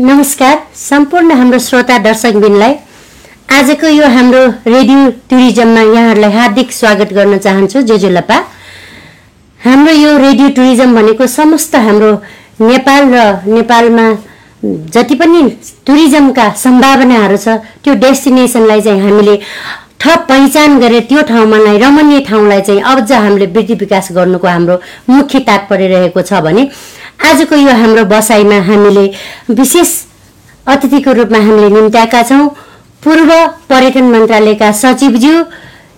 नमस्कार सम्पूर्ण हाम्रो श्रोता दर्शकबिनलाई आजको यो हाम्रो रेडियो टुरिज्ममा यहाँहरूलाई हार्दिक स्वागत गर्न चाहन्छु जुजुलपा हाम्रो यो रेडियो टुरिज्म भनेको समस्त हाम्रो नेपाल र नेपालमा जति पनि टुरिज्मका सम्भावनाहरू छ त्यो डेस्टिनेसनलाई चाहिँ हामीले थप पहिचान गरेर त्यो ठाउँमा नै रमणीय ठाउँलाई चाहिँ अझ हामीले वृद्धि विकास गर्नुको हाम्रो मुख्य तात्पर्य रहेको छ भने आजको यो हाम्रो बसाइमा हामीले विशेष अतिथिको रूपमा हामीले निम्त्याएका छौँ पूर्व पर्यटन मन्त्रालयका सचिवज्यू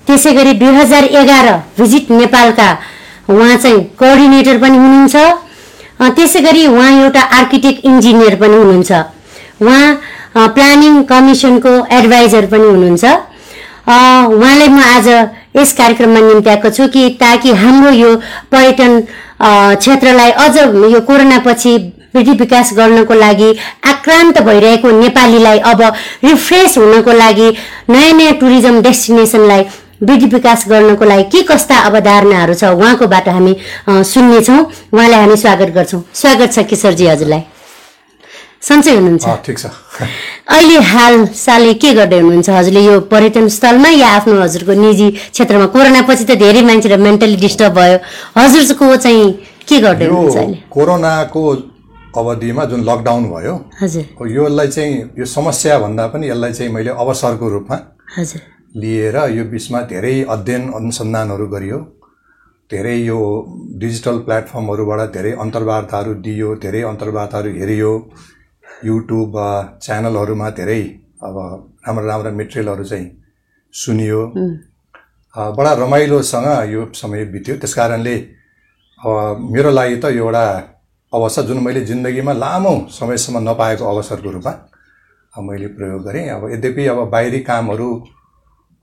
त्यसै गरी दुई हजार एघार भिजिट नेपालका उहाँ चाहिँ कोअर्डिनेटर पनि हुनुहुन्छ अ, त्यसै गरी उहाँ एउटा आर्किटेक्ट इन्जिनियर पनि हुनुहुन्छ उहाँ अ, प्लानिङ कमिसनको एडभाइजर पनि हुनुहुन्छ अ, उहाँलाई म आज यस कार्यक्रममा निम्त्याएको छु कि ताकि हाम्रो यो पर्यटन अ, क्षेत्रलाई अझ यो कोरोनापछि वृद्धि विकास गर्नको लागि आक्रान्त भइरहेको नेपालीलाई अब रिफ्रेस हुनको लागि नयाँ नयाँ टुरिज्म डेस्टिनेसनलाई वृद्धि विकास गर्नको लागि के कस्ता अवधारणाहरू छ उहाँकोबाट हामी अ, सुन्नेछौँ उहाँलाई हामी स्वागत गर्छौँ स्वागत छ किशोरजी हजुरलाई सन्चै हुनुहुन्छ अँ, ठिक छ अहिले हाल साले के गर्दै हुनुहुन्छ हजुरले यो पर्यटन स्थलमा या आफ्नो हजुरको निजी क्षेत्रमा कोरोनापछि त धेरै मान्छेलाई मेन्टली डिस्टर्ब भयो हजुरको चाहिँ के गर्दै यो हुनुहुन्छ अहिले कोरोनाको अवधिमा जुन लकडाउन भयो हजुर यसलाई चाहिँ यो समस्या भन्दा पनि यसलाई चाहिँ मैले अवसरको रूपमा हजुर लिएर यो बिचमा धेरै अध्ययन अनुसन्धानहरू गरियो धेरै यो डिजिटल प्लेटफर्महरूबाट धेरै अन्तर्वार्ताहरू दियो धेरै अन्तर्वार्ताहरू हेरियो युट्युब अ, च्यानलहरूमा धेरै अब राम्रा राम्रा मेटेरियलहरू चाहिँ सुनियो अ, बडा रमाइलोसँग यो समय बित्यो त्यस कारणले अब मेरो लागि त यो एउटा अवसर जुन मैले जिन्दगीमा लामो समयसम्म नपाएको अवसरको रूपमा अब मैले प्रयोग गरेँ अब यद्यपि अब बाहिरी कामहरू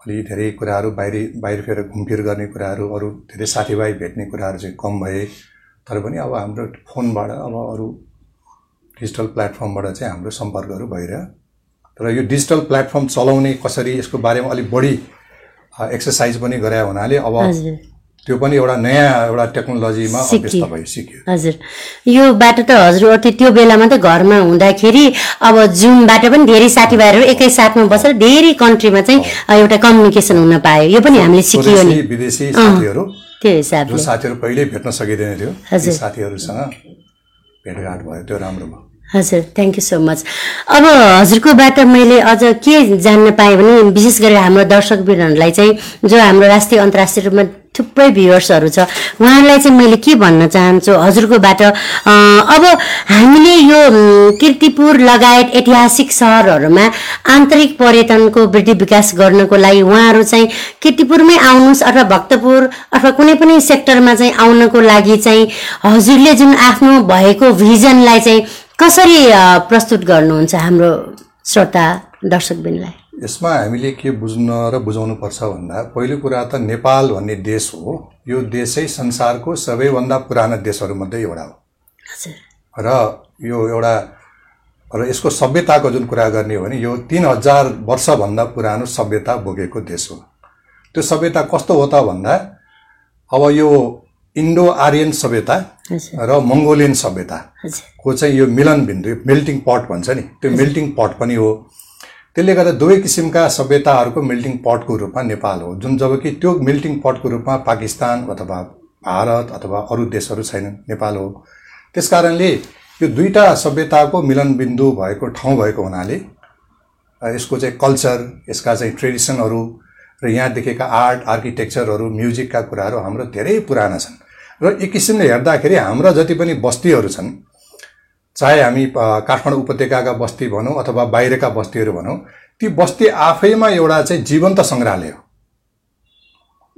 अलि धेरै कुराहरू बाहिरी बाहिर फेर घुमफिर गर्ने कुराहरू अरू धेरै साथीभाइ भेट्ने कुराहरू चाहिँ कम भए तर पनि अब हाम्रो फोनबाट अब अरू डिजिटल प्लेटफर्मबाट चाहिँ हाम्रो सम्पर्कहरू भइरह्यो तर यो डिजिटल प्लेटफर्म चलाउने कसरी यसको बारेमा अलिक बढी एक्सर्साइज पनि गरे हुनाले अब हजुर त्यो पनि एउटा नयाँ एउटा टेक्नोलोजीमा सिकियो। अभ्यस्त भयो सिक्यो हजुर यो बाटो त हजुर अति त्यो बेलामा त घरमा हुँदाखेरि अब जुमबाट पनि धेरै साथीभाइहरू एकैसाथमा बसेर धेरै कन्ट्रीमा चाहिँ अ, एउटा कम्युनिकेसन हुन पायो यो पनि हामीले सिकियो नि स्वदेशी विदेशी साथीहरू त्यो जो हिसाबले साथीहरू कहिल्यै भेट्न सकिँदैन थियो ती हजुर। साथीहरूसँग भेटघाट भयो त्यो राम्रो भयो हजुर थ्याङ्क यू सो मच अब हजुरकोबाट मैले अझ के जान्न पाएँ भने विशेष गरी हाम्रो दर्शकवीरहरूलाई चाहिँ जो हाम्रो राष्ट्रिय अन्तर्राष्ट्रिय रूपमा थुप्रै भ्युवर्सहरू छ उहाँहरूलाई चाहिँ मैले के भन्न चाहन्छु हजुरकोबाट अ, अब हामीले यो उम्, किर्तिपुर लगायत ऐतिहासिक सहरहरूमा आन्तरिक पर्यटनको वृद्धि विकास गर्नको लागि उहाँहरू चाहिँ किर्तिपुरमै आउनुहोस् अथवा भक्तपुर अथवा कुनै पनि सेक्टरमा चाहिँ आउनको लागि चाहिँ हजुरले जुन आफ्नो भएको भिजनलाई चाहिँ कसरी अ, प्रस्तुत गर्नुहुन्छ हाम्रो श्रोता दर्शकबिनलाई यसमा हामीले के बुझ्न र बुझाउनुपर्छ भन्दा पहिलो कुरा त नेपाल भन्ने देश हो यो देशै संसारको सबैभन्दा पुराना देशहरूमध्ये एउटा हो हजुर र यो एउटा र यसको सभ्यताको जुन कुरा गर्ने हो भने यो तिन हजार वर्षभन्दा पुरानो सभ्यता बोकेको देश हो त्यो सभ्यता कस्तो हो त भन्दा अब यो इन्डो आर्यन सभ्यता हजुर र मङ्गोलियन सभ्यताको हजुर चाहिँ यो मिलन बिन्दु यो मेल्टिङ पट भन्छ नि त्यो मेल्टिङ पट पनि हो त्यसले गर्दा दुवै किसिमका सभ्यताहरूको मेल्टिङ पटको रूपमा नेपाल हो जुन जबकि त्यो मेल्टिङ पटको रूपमा पाकिस्तान अथवा भारत अथवा अरू देशहरू छैनन् नेपाल हो त्यस कारणले यो दुईवटा सभ्यताको मिलनबिन्दु भएको ठाउँ भएको हुनाले अ, यसको चाहिँ कल्चर यसका चाहिँ ट्रेडिसनहरू र यहाँ देखेका आर्ट आर्किटेक्चरहरू म्युजिकका कुराहरू हाम्रो धेरै पुराना छन् र एक किसिमले हेर्दाखेरि हाम्रा जति पनि बस्तीहरू छन् चाहे हामी अ, काठमाडौँ उपत्यकाका बस्ती भनौँ अथवा बाहिरका बस्तीहरू भनौँ ती बस्ती आफैमा एउटा चाहिँ जीवन्त सङ्ग्रहालय हो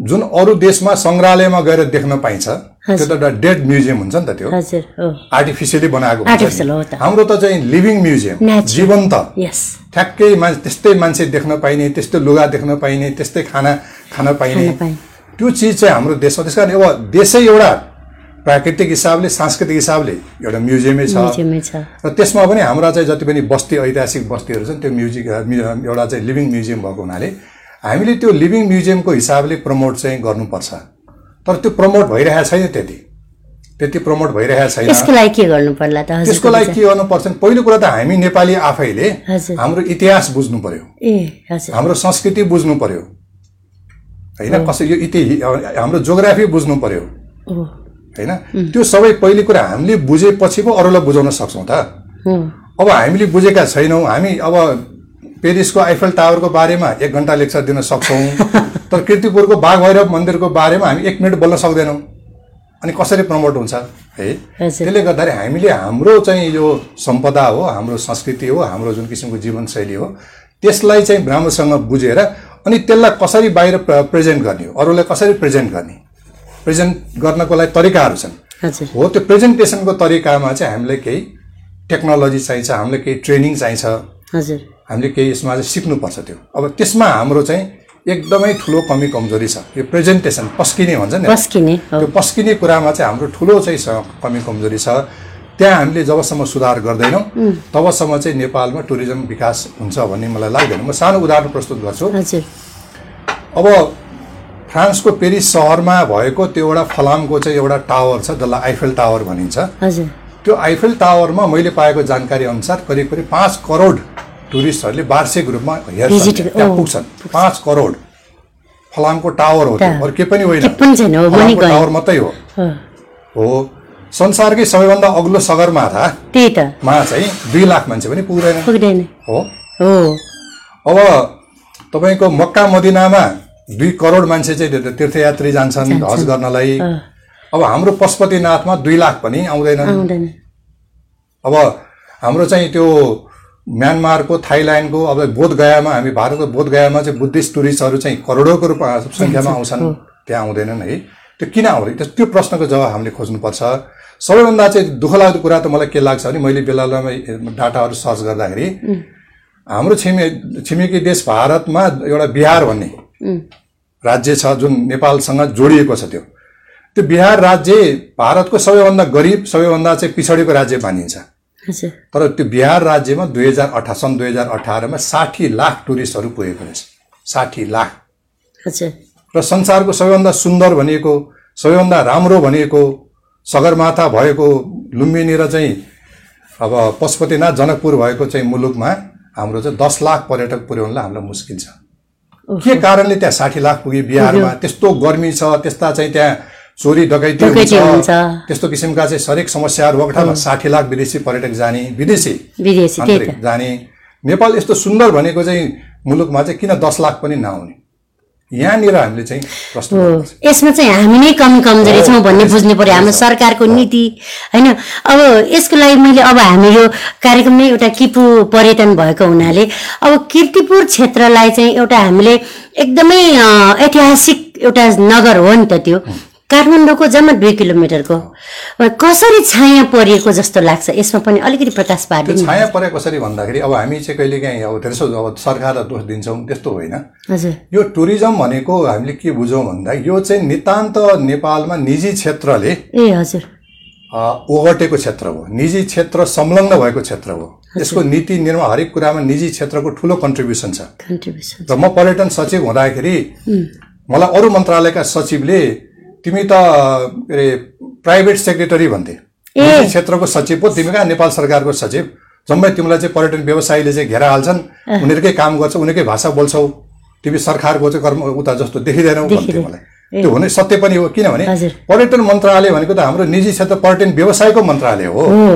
जुन अरू देशमा सङ्ग्रहालयमा गएर देख्न पाइन्छ त्यो त एउटा डेड म्युजियम हुन्छ नि त त्यो हजुर हो आर्टिफिसियली बनाएको हुन्छ नि। Artificial हो त। हाम्रो त चाहिँ लिभिङ म्युजियम Natural। जीवन्त यस ठ्याक्कै मान्छे त्यस्तै मान्छे देख्न पाइने त्यस्तो लुगा देख्न पाइने त्यस्तै खाना खान पाइने खान पाइने। त्यो चिज चाहिँ हाम्रो देशमा त्यस कारण अब देशै एउटा प्राकृतिक हिसाबले सांस्कृतिक हिसाबले एउटा म्युजियमै छ म्युजियमै छ र त्यसमा पनि हाम्रा चाहिँ जति पनि बस्ती ऐतिहासिक बस्तीहरू छन् त्यो म्युजिक अ, म्यु- एउटा चाहिँ लिभिङ म्युजियम भएको हुनाले हामीले त्यो लिभिङ म्युजियमको हिसाबले प्रमोट चाहिँ गर्नुपर्छ तर त्यो प्रमोट भइरहेको छैन त्यति त्यति प्रमोट भइरहेको यसको छैन लागि के गर्नु पर्ला त त्यसको लागि हजुर के गर्नु पर्छ भने पहिलो कुरा त हामी नेपाली आफैले हजुर। हाम्रो इतिहास बुझ्नु पर्यो ए हजुर हाम्रो संस्कृति बुझ्नु पर्यो होइन कसै यो इति हाम्रो जोग्राफी बुझ्नु पर्यो हो होइन त्यो सबै पहिलो कुरा हामीले बुझेपछि पो अरूलाई बुझाउन सक्छौँ त हो अब हामीले बुझेका छैनौँ हामी अब पेरिसको आइफल टावरको बारेमा एक घन्टा लेक्चर दिन सक्छौँ तर किर्तिपुरको बाघ भैरव मन्दिरको बारेमा हामी एक मिनट बोल्न सक्दैनौँ अनि कसरी प्रमोट हुन्छ है हजुर। त्यसले गर्दाखेरि हामीले हाम्रो चाहिँ यो सम्पदा हो हाम्रो संस्कृति हो हाम्रो जुन किसिमको जीवनशैली हो त्यसलाई चाहिँ राम्रोसँग बुझेर अनि त्यसलाई कसरी बाहिर प्र- प्रेजेन्ट गर्ने हो अरूलाई कसरी प्रेजेन्ट गर्ने प्रेजेन्ट गर्नको लागि तरिकाहरू छन् हजुर हो त्यो प्रेजेन्टेसनको तरिकामा चाहिँ हामीलाई केही टेक्नोलोजी चाहिन्छ हामीलाई केही ट्रेनिङ चाहिन्छ हजुर हामीले केही यसमा चाहिँ सिक्नुपर्छ त्यो अब त्यसमा हाम्रो चाहिँ एकदमै ठुलो कमी कमजोरी छ यो प्रेजेन्टेसन पस्किने भन्छ नि पस्किने हो त्यो पस्किने कुरामा चाहिँ हाम्रो ठुलो चाहिँ स- कमी कमजोरी छ त्यहाँ हामीले जबसम्म सुधार गर्दैनौँ तबसम्म चाहिँ नेपालमा टुरिज्म विकास हुन्छ भन्ने मलाई लाग्दैन म सानो उदाहरण प्रस्तुत गर्छु हजुर अब फ्रान्सको पेरिस सहरमा भएको त्यो एउटा फलामको चाहिँ एउटा टावर छ जसलाई आइफेल टावर भनिन्छ हजुर त्यो आइफेल टावरमा मैले पाएको जानकारी अनुसार करिब करिब पाँच करोड टुरिस्टहरूले वार्षिक रूपमा हेर्छन् Visit- त्यहाँ, त्यहाँ ओ, पुग्छन् पाँच करोड फलामको टावर हो त्यो टावर। अरू के पनि होइन के पनि छैन, हो, मैले फलामको गएँ। टावर मात्रै हो हो हो संसारकै सबैभन्दा अग्लो सगरमाथा त्यही त मा चाहिँ दुई लाख मान्छे पनि पुग्दैन पुग्दैन हो हो अब तपाईँको मक्का मदिनामा दुई करोड मान्छे चाहिँ त्यो- त्यो तीर्थयात्री जान्छन् जान्छन्। हज गर्नलाई अँ। अब हाम्रो पशुपतिनाथमा दुई लाख पनि आउँदैनन् आउँदैन अब हाम्रो चाहिँ त्यो म्यानमारको थाइल्यान्डको अब बोधगयामा हामी भारतको बोधगयामा चाहिँ बुद्धिस्ट टुरिस्टहरू चाहिँ करोडौँको रूपमा सङ्ख्यामा आउँछन् त्यहाँ आउँदैनन् है त्यो किन आउँदैन त्यो- त्यो प्रश्नको जवाब हामीले खोज्नुपर्छ सबैभन्दा चाहिँ दुःख लाग्दो कुरा त मलाई के लाग्छ भने मैले बेलामा डाटाहरू सर्च गर्दाखेरि हाम्रो छिमे छिमेकी देश भारतमा एउटा बिहार भन्ने उम्, राज्य छ जुन नेपालसँग जोडिएको छ त्यो त्यो बिहार राज्य भारतको सबैभन्दा गरिब सबैभन्दा चाहिँ पिछडिको राज्य मानिन्छ हजुर तर त्यो बिहार राज्यमा दुई हजार अठा सन् दुई हजार अठारमा साठी लाख टुरिस्टहरू पुगेको रहेछ साठी लाख हजुर र संसारको सबैभन्दा सुन्दर भनिएको सबैभन्दा राम्रो भनिएको सगरमाथा भएको लुम्बिनी र चाहिँ अब पशुपतिनाथ जनकपुर भएको चाहिँ मुलुकमा हाम्रो चाहिँ दस लाख पर्यटक पुर्याउनलाई हामीलाई मुस्किल छ के कारणले त्यहाँ साठी लाख पुगे बिहारमा त्यस्तो गर्मी छ त्यस्ता चाहिँ त्यहाँ चोरी डकैती डकैती हुन्छ हुन्छ। त्यस्तो किसिमका चाहिँ हरेक समस्याहरू वक्तामा साठी लाख विदेशी पर्यटक जाने विदेशी विदेशी त्यही त आन्तरिक जाने नेपाल यस्तो सुन्दर भनेको चाहिँ मुलुकमा चाहिँ किन दस लाख पनि नआउने यहाँनिर हामीले चाहिँ प्रश्न हो गर्नुपर्छ। यसमा चाहिँ हामी नै कम कमजोरी छौँ भन्ने हो, बुझ्नु पर्यो हाम्रो सरकारको नीति होइन अब यसको लागि मैले अब हामी यो कार्यक्रम नै एउटा किपु पर्यटन भएको हुनाले अब किर्तिपुर क्षेत्रलाई चाहिँ एउटा हामीले एकदमै अ, ऐतिहासिक एउटा नगर हो नि त त्यो काठमाडौँको जम्मा दुई किलोमिटरको अब कसरी छाया परिएको जस्तो लाग्छ यसमा पनि अलिकति प्रकाश त्यो पारिदिनु छाया परे कसरी भन्दाखेरि अब हामी चाहिँ कहिलेकाहीँ अब धेरै सो अब सरकारलाई दोष दिन्छौँ त्यस्तो होइन हजुर यो टुरिज्म भनेको हामीले के बुझौँ भन्दा यो चाहिँ नितान्त नेपालमा निजी क्षेत्रले ए हजुर अ, ओगटेको क्षेत्र हो निजी क्षेत्र संलग्न भएको क्षेत्र हो यसको नीति निर्माण हरेक कुरामा निजी क्षेत्रको ठुलो कन्ट्रिब्युसन छ कन्ट्रिब्युसन र म पर्यटन सचिव हुँदाखेरि मलाई अरू मन्त्रालयका सचिवले तिमी त के अरे प्राइभेट सेक्रेटरी भन्थे निजी क्षेत्रको सचिव पो तिमी कहाँ नेपाल सरकारको सचिव जम्मै तिमीलाई चाहिँ पर्यटन व्यवसायीले चाहिँ घेरा हाल्छन् उनीहरूकै काम गर्छौ उनीहरूकै भाषा बोल्छौ तिमी सरकारको चाहिँ कर्म उता जस्तो देखिँदैनौ भन्थे देखिँदैन। मलाई त्यो हुने सत्य पनि हो किनभने हजुर। पर्यटन मन्त्रालय भनेको त हाम्रो निजी क्षेत्र पर्यटन व्यवसायको मन्त्रालय हो हो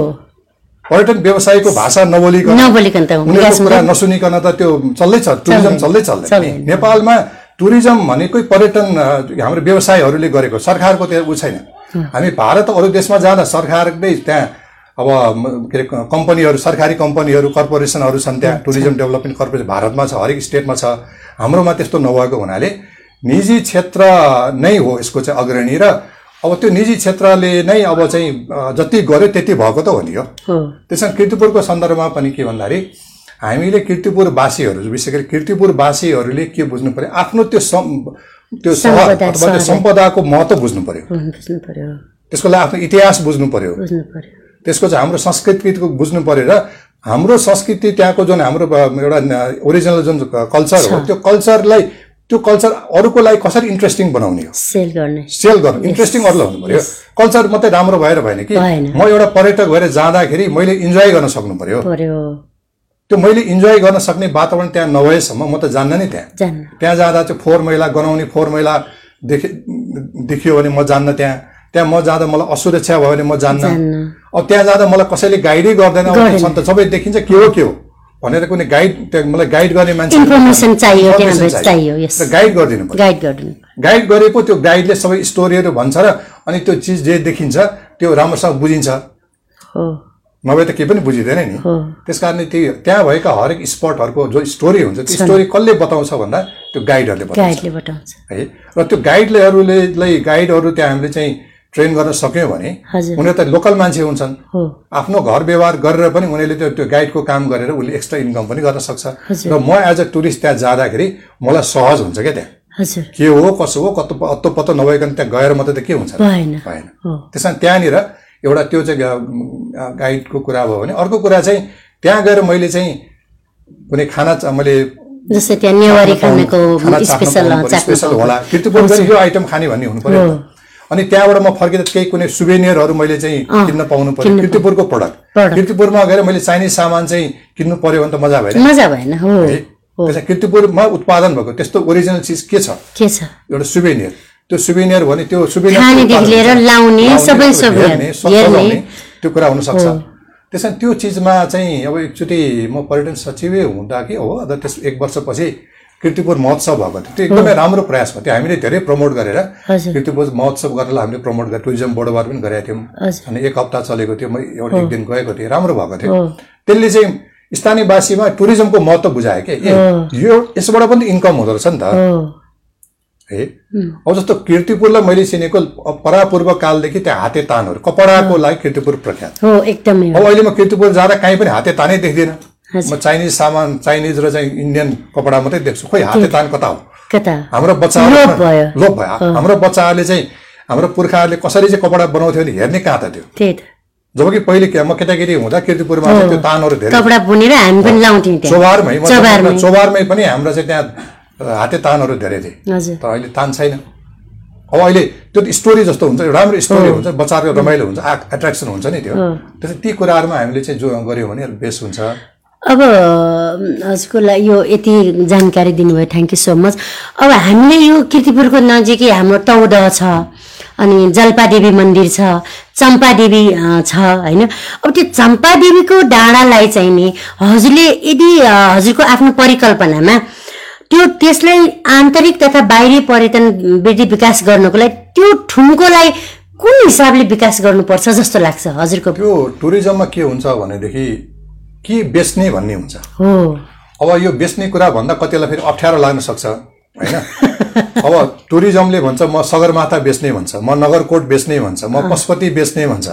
पर्यटन व्यवसायको भाषा नबोलिकन नबोलिकन त उनीहरूको विकासमा कुरा नसुनिकन त त्यो चल्दैछ टुरिज्म चल्दै चल्दैन नि। चल्दैन। नेपालमा टुरिज्म भनेकै पर्यटन अ, हाम्रो व्यवसायहरूले गरेको सरकारको त्यो ऊ छैन हामी भारत अरू देशमा जाँदा सरकारले त्यहाँ अब म- के अरे कम्पनीहरू सरकारी कम्पनीहरू कर्पोरेसनहरू छन् त्यहाँ टुरिज्म डेभलपमेन्ट कर्पोरेसन भारतमा छ हरेक स्टेटमा छ हाम्रोमा त्यस्तो नभएको हुनाले निजी क्षेत्र नै हो यसको चाहिँ अग्रणी र अब त्यो निजी क्षेत्रले नै अब चाहिँ अ, जति गर्यो त्यति भएको त हो नि यो हो त्यसमा किर्तिपुरको सन्दर्भमा पनि के भन्दाखेरि हामीले किर्तिपुरवासीहरू विशेष गरी किर्तिपुरवासीहरूले के बुझ्नु पर्यो आफ्नो त्यो सम् त्यो सहर सम्पदा, अथवा त्यो सहरलाई। सम्पदाको महत्त्व बुझ्नु पर्यो बुझ्नु पर्यो त्यसको लागि आफ्नो इतिहास बुझ्नु पर्यो बुझ्नु पर्यो त्यसको चाहिँ हाम्रो संस्कृतिको बुझ्नु पर्यो र हाम्रो संस्कृति त्यहाँको जुन हाम्रो ब- एउटा न- ओरिजिनल जुन क- कल्चर हो त्यो कल्चरलाई त्यो कल्चर अरूको लागि कसरी इन्ट्रेस्टिङ बनाउने हो सेल गर्ने सेल गर्नु इन्ट्रेस्टिङ अरूलाई हुनु पर्यो कल्चर मात्रै राम्रो भएर भएन कि भएन। म एउटा पर्यटक भएर जाँदाखेरि मैले इन्जोय गर्न सक्नु पर्यो पर्यो त्यो मैले इन्जोय गर्न सक्ने वातावरण त्यहाँ नभएसम्म म त जान्न नै त्यहाँ जान्न त्यहाँ जाँदा चाहिँ फोहोर मैला गनाउने फोहोर मैला देखि देखियो भने म जान्न त्यहाँ त्यहाँ म जाँदा मलाई असुरक्षा भयो भने म जान्न जान्न अब त्यहाँ जाँदा मलाई कसैले गाइडै गर्दैन अब गर्दैन। छन् त सबै देखिन्छ के हो के हो भनेर कुनै गाइड त्यहाँ मलाई गाइड गर्ने मान्छे Information चाहियो, Information त्यहाँ चाहियो, yes. र गाइड गरिदिनु पर्यो गाइड गरिदिनु गाइड गरे पो त्यो गाइडले सबै स्टोरीहरू भन्छ र अनि त्यो चिज जे देखिन्छ त्यो राम्रोसँग बुझिन्छ हो नभए त केही पनि बुझिँदैन नि हो त्यस कारणले त्यो त्यहाँ भएका हरेक स्पटहरूको जो स्टोरी हुन्छ त्यो स्टोरी कसले बताउँछ भन्दा त्यो गाइडहरूले बताउँछ गाइडले बताउँछ है र त्यो गाइडलेहरूले लाई गाइडहरू त्यहाँ हामीले चाहिँ ट्रेन गर्न सक्यौँ भने हजुर। उनीहरू त लोकल मान्छे हुन्छन् हो आफ्नो घर व्यवहार गरेर पनि उनीहरूले त्यो त्यो गाइडको काम गरेर उसले एक्स्ट्रा इन्कम पनि गर्न सक्छ हजुर। र म एज अ टुरिस्ट त्यहाँ जाँदाखेरि मलाई सहज हुन्छ क्या त्यहाँ हजुर के हो कसो हो कत्तो अत्तो पत्तो नभइकन त्यहाँ गएर मात्रै त के हुन्छ भएन भएन हो त्यस कारण त्यहाँनिर एउटा त्यो चाहिँ गा- गाइडको कुरा भयो भने अर्को कुरा चाहिँ त्यहाँ गएर मैले चाहिँ कुनै खाना च- मैले जस्तै त्यहाँ नेवारी खानाको खाना चाख्न स्पेसल पाउनु पर्यो, चाख्नु स्पेसल पाउनु होला कृतिपुर गरी यो आइटम खाने भन्ने हुनु पर्यो हो। अनि त्यहाँबाट म फर्केर केही कुनै सुवेनियरहरू मैले चाहिँ किन्न पाउनु पर्यो किन्न कृतिपुरको प्रडक्ट Product। कृतिपुरमा गएर मैले चाइनिज सामान चाहिँ किन्नु पर्यो भने त मजा भएन मजा भएन हो त्यसलाई कृतिपुरमा उत्पादन भएको त्यस्तो ओरिजिनल चिज के छ के छ एउटा सुवेनियर त्यो सुवेनियर भने त्यो खानेदेखि लिएर सुवेनियर लाउने सबै सबै हेर्ने त्यो कुरा हुनसक्छ त्यस कारण त्यो चिजमा चाहिँ अब एकचोटि म पर्यटन सचिवै हुँदा कि हो अन्त त्यस एक वर्षपछि कृतिपुर महोत्सव भएको थियो त्यो एकदमै राम्रो प्रयास भयो त्यो हामीले धेरै प्रमोट गरेर हजुर कृतिपुर महोत्सव गर्नलाई हामीले प्रमोट गरेर टुरिज्म बोर्डबाट पनि गरेका थियौँ हजुर अनि एक हप्ता चलेको थियो म एउटा एक दिन गएको थिएँ राम्रो भएको थियो हो त्यसले चाहिँ स्थानीयवासीमा टुरिज्मको महत्त्व बुझायो के ए, यो यसबाट पनि त इन्कम हुँदो रहेछ नि त हो है अब जस्तो किर्तिपुरलाई मैले चिनेको परापूर्व कालदेखि त्यहाँ हाते तानहरू कपडाको लागि किर्तिपुर प्रख्यात हो एकदमै हो अब अहिले म किर्तिपुर जाँदा काहीँ पनि हाते तानै देख्दिनँ हजुर। म चाइनिज सामान चाइनिज र चाहिँ इन्डियन कपडा मात्रै देख्छु खोइ हाते तान कता हो कता हाम्रो बच्चाहरू लोप भयो। लोप भयो हाम्रो बच्चाहरूले चाहिँ हाम्रो पुर्खाहरूले कसरी चाहिँ कपडा बनाउँथ्यो भने हेर्ने कहाँ त थियो त्यही त जबकि पहिले के म केटाकेटी हुँदा किर्तिपुरमा चाहिँ त्यो तानहरू धेरै कपडा बुनेर हामी पनि लाउँथ्यौँ त्यहाँ चोभारमै मतलब चोभारमै। चोभारमै पनि हाम्रो चाहिँ त्यहाँ हाते तानहरू धेरै थिए हजुर त अहिले तान छैन अब अहिले त्यो त स्टोरी जस्तो हुन्छ एउटा राम्रो स्टोरी हुन्छ बच्चाहरूको रमाइलो हुन्छ आ एट्र्याक्सन हुन्छ नि त्यो त्यसै ती कुराहरूमा हामीले चाहिँ जो गऱ्यौँ भने बेस्ट हुन्छ अब हजुरको लागि यो यति जानकारी दिनुभयो थ्याङ्क यू सो मच अब हामीले यो किर्तिपुरको नजिकै हाम्रो तौदह छ अनि जल्पादेवी मन्दिर छ चम्पादेवी अ, छ होइन अब त्यो चम्पादेवीको डाँडालाई चाहिँ नि हजुरले यदि अ, हजुरको आफ्नो परिकल्पनामा त्यो त्यसलाई आन्तरिक तथा बाहिरी पर्यटन वृद्धि विकास गर्नको लागि त्यो ठुम्कोलाई कुन हिसाबले विकास गर्नुपर्छ जस्तो लाग्छ हजुरको त्यो टुरिज्ममा के हुन्छ भनेदेखि के बेच्ने भन्ने हुन्छ हो अब यो बेच्ने कुरा भन्दा कतिलाई फेरि अप्ठ्यारो लाग्न सक्छ होइन अब टुरिज्मले भन्छ म सगरमाथा बेच्ने भन्छ म नगरकोट बेच्ने भन्छ म पशुपति बेच्ने भन्छ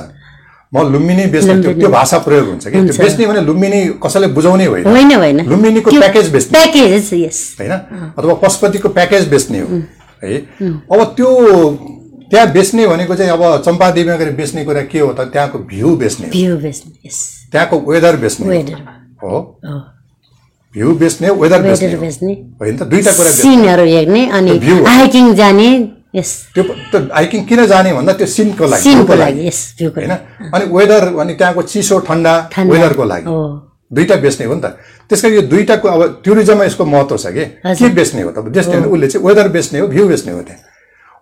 म लुम्बिनी बेच्ने त्यो त्यो भाषा प्रयोग हुन्छ कि त्यो बेच्ने भने लुम्बिनी कसैले बुझाउने होइन होइन होइन लुम्बिनीको प्याकेज बेच्ने प्याकेज यस होइन अथवा पशुपतिको प्याकेज बेच्ने हो है अब त्यो त्यहाँ बेच्ने भनेको चाहिँ अब चम्पादेवीमा गएर बेच्ने कुरा के हो त त्यहाँको भ्यू बेच्ने हो भ्यू बेच्ने यस त्यहाँको वेदर बेच्ने वेदर हो हो। भ्यू बेच्ने हो वेदर बेच्ने वेदर बेच्ने हो। होइन त दुईवटा कुरा बेच्ने सिनहरू हेर्ने अनि त्यो view हो। हाइकिङ जाने यस त्यो त्यो हाइकिङ किन जाने भन्दा त्यो सिनको लागि सिनको भ्यूको लागि यस भ्यूको होइन लागि अनि वेदर अनि त्यहाँको चिसो ठन्डा ठन्डा। वेदरको लागि हो दुईवटा बेच्ने हो नि त त्यस कारण यो दुईवटाको अब टुरिज्ममा यसको महत्त्व छ कि के हजुर। बेच्ने हो त अब बेच्ने भने उसले चाहिँ वेदर बेच्ने हो भ्यू बेच्ने हो त्यहाँ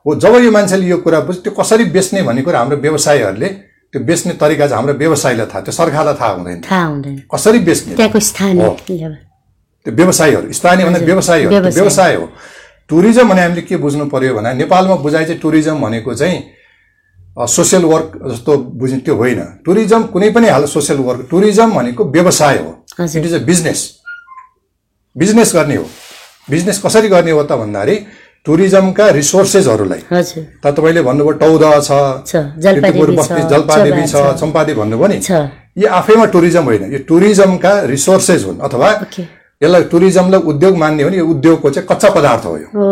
हो जब यो मान्छेले यो कुरा बुझ्यो त्यो कसरी बेच्ने भन्ने कुरा हाम्रो व्यवसायीहरूले त्यो बेच्ने तरिका चाहिँ हाम्रो व्यवसायीलाई थाहा त्यो सरकारलाई थाहा हुँदैन थाहा हुँदैन कसरी बेच्ने त्यहाँको स्थानीय level। त्यो व्यवसायीहरू स्थानीय भन्दा व्यवसायीहरू त्यो व्यवसाय। व्यवसाय हो टुरिज्म भने हामीले के बुझ्नु पर्यो भने नेपालमा बुझाइ चाहिँ टुरिज्म भनेको चाहिँ अ, सोसियल वर्क जस्तो बुझ्ने त्यो होइन टुरिज्म कुनै पनि हाल सोसियल वर्क टुरिज्म भनेको व्यवसाय हो हजुर। It is a business business गर्ने हो बिजनेस कसरी गर्ने हो त भन्दाखेरि टुरिज्मका रिसोर्सेसहरूलाई हजुर त तपाईँले भन्नुभयो टौद छ छ जलपाइगुडी किर्तिपुर छ बस्ती जलपादेवी छ चौभान चम्पादेवी भन्नुभयो नि छ यी आफैमा टुरिज्म होइन यो टुरिज्मका रिसोर्सेस हुन् अथवा Okay. यसलाई टुरिज्मलाई उद्योग मान्ने हो भने यो उद्योगको चाहिँ कच्चा पदार्थ हो यो हो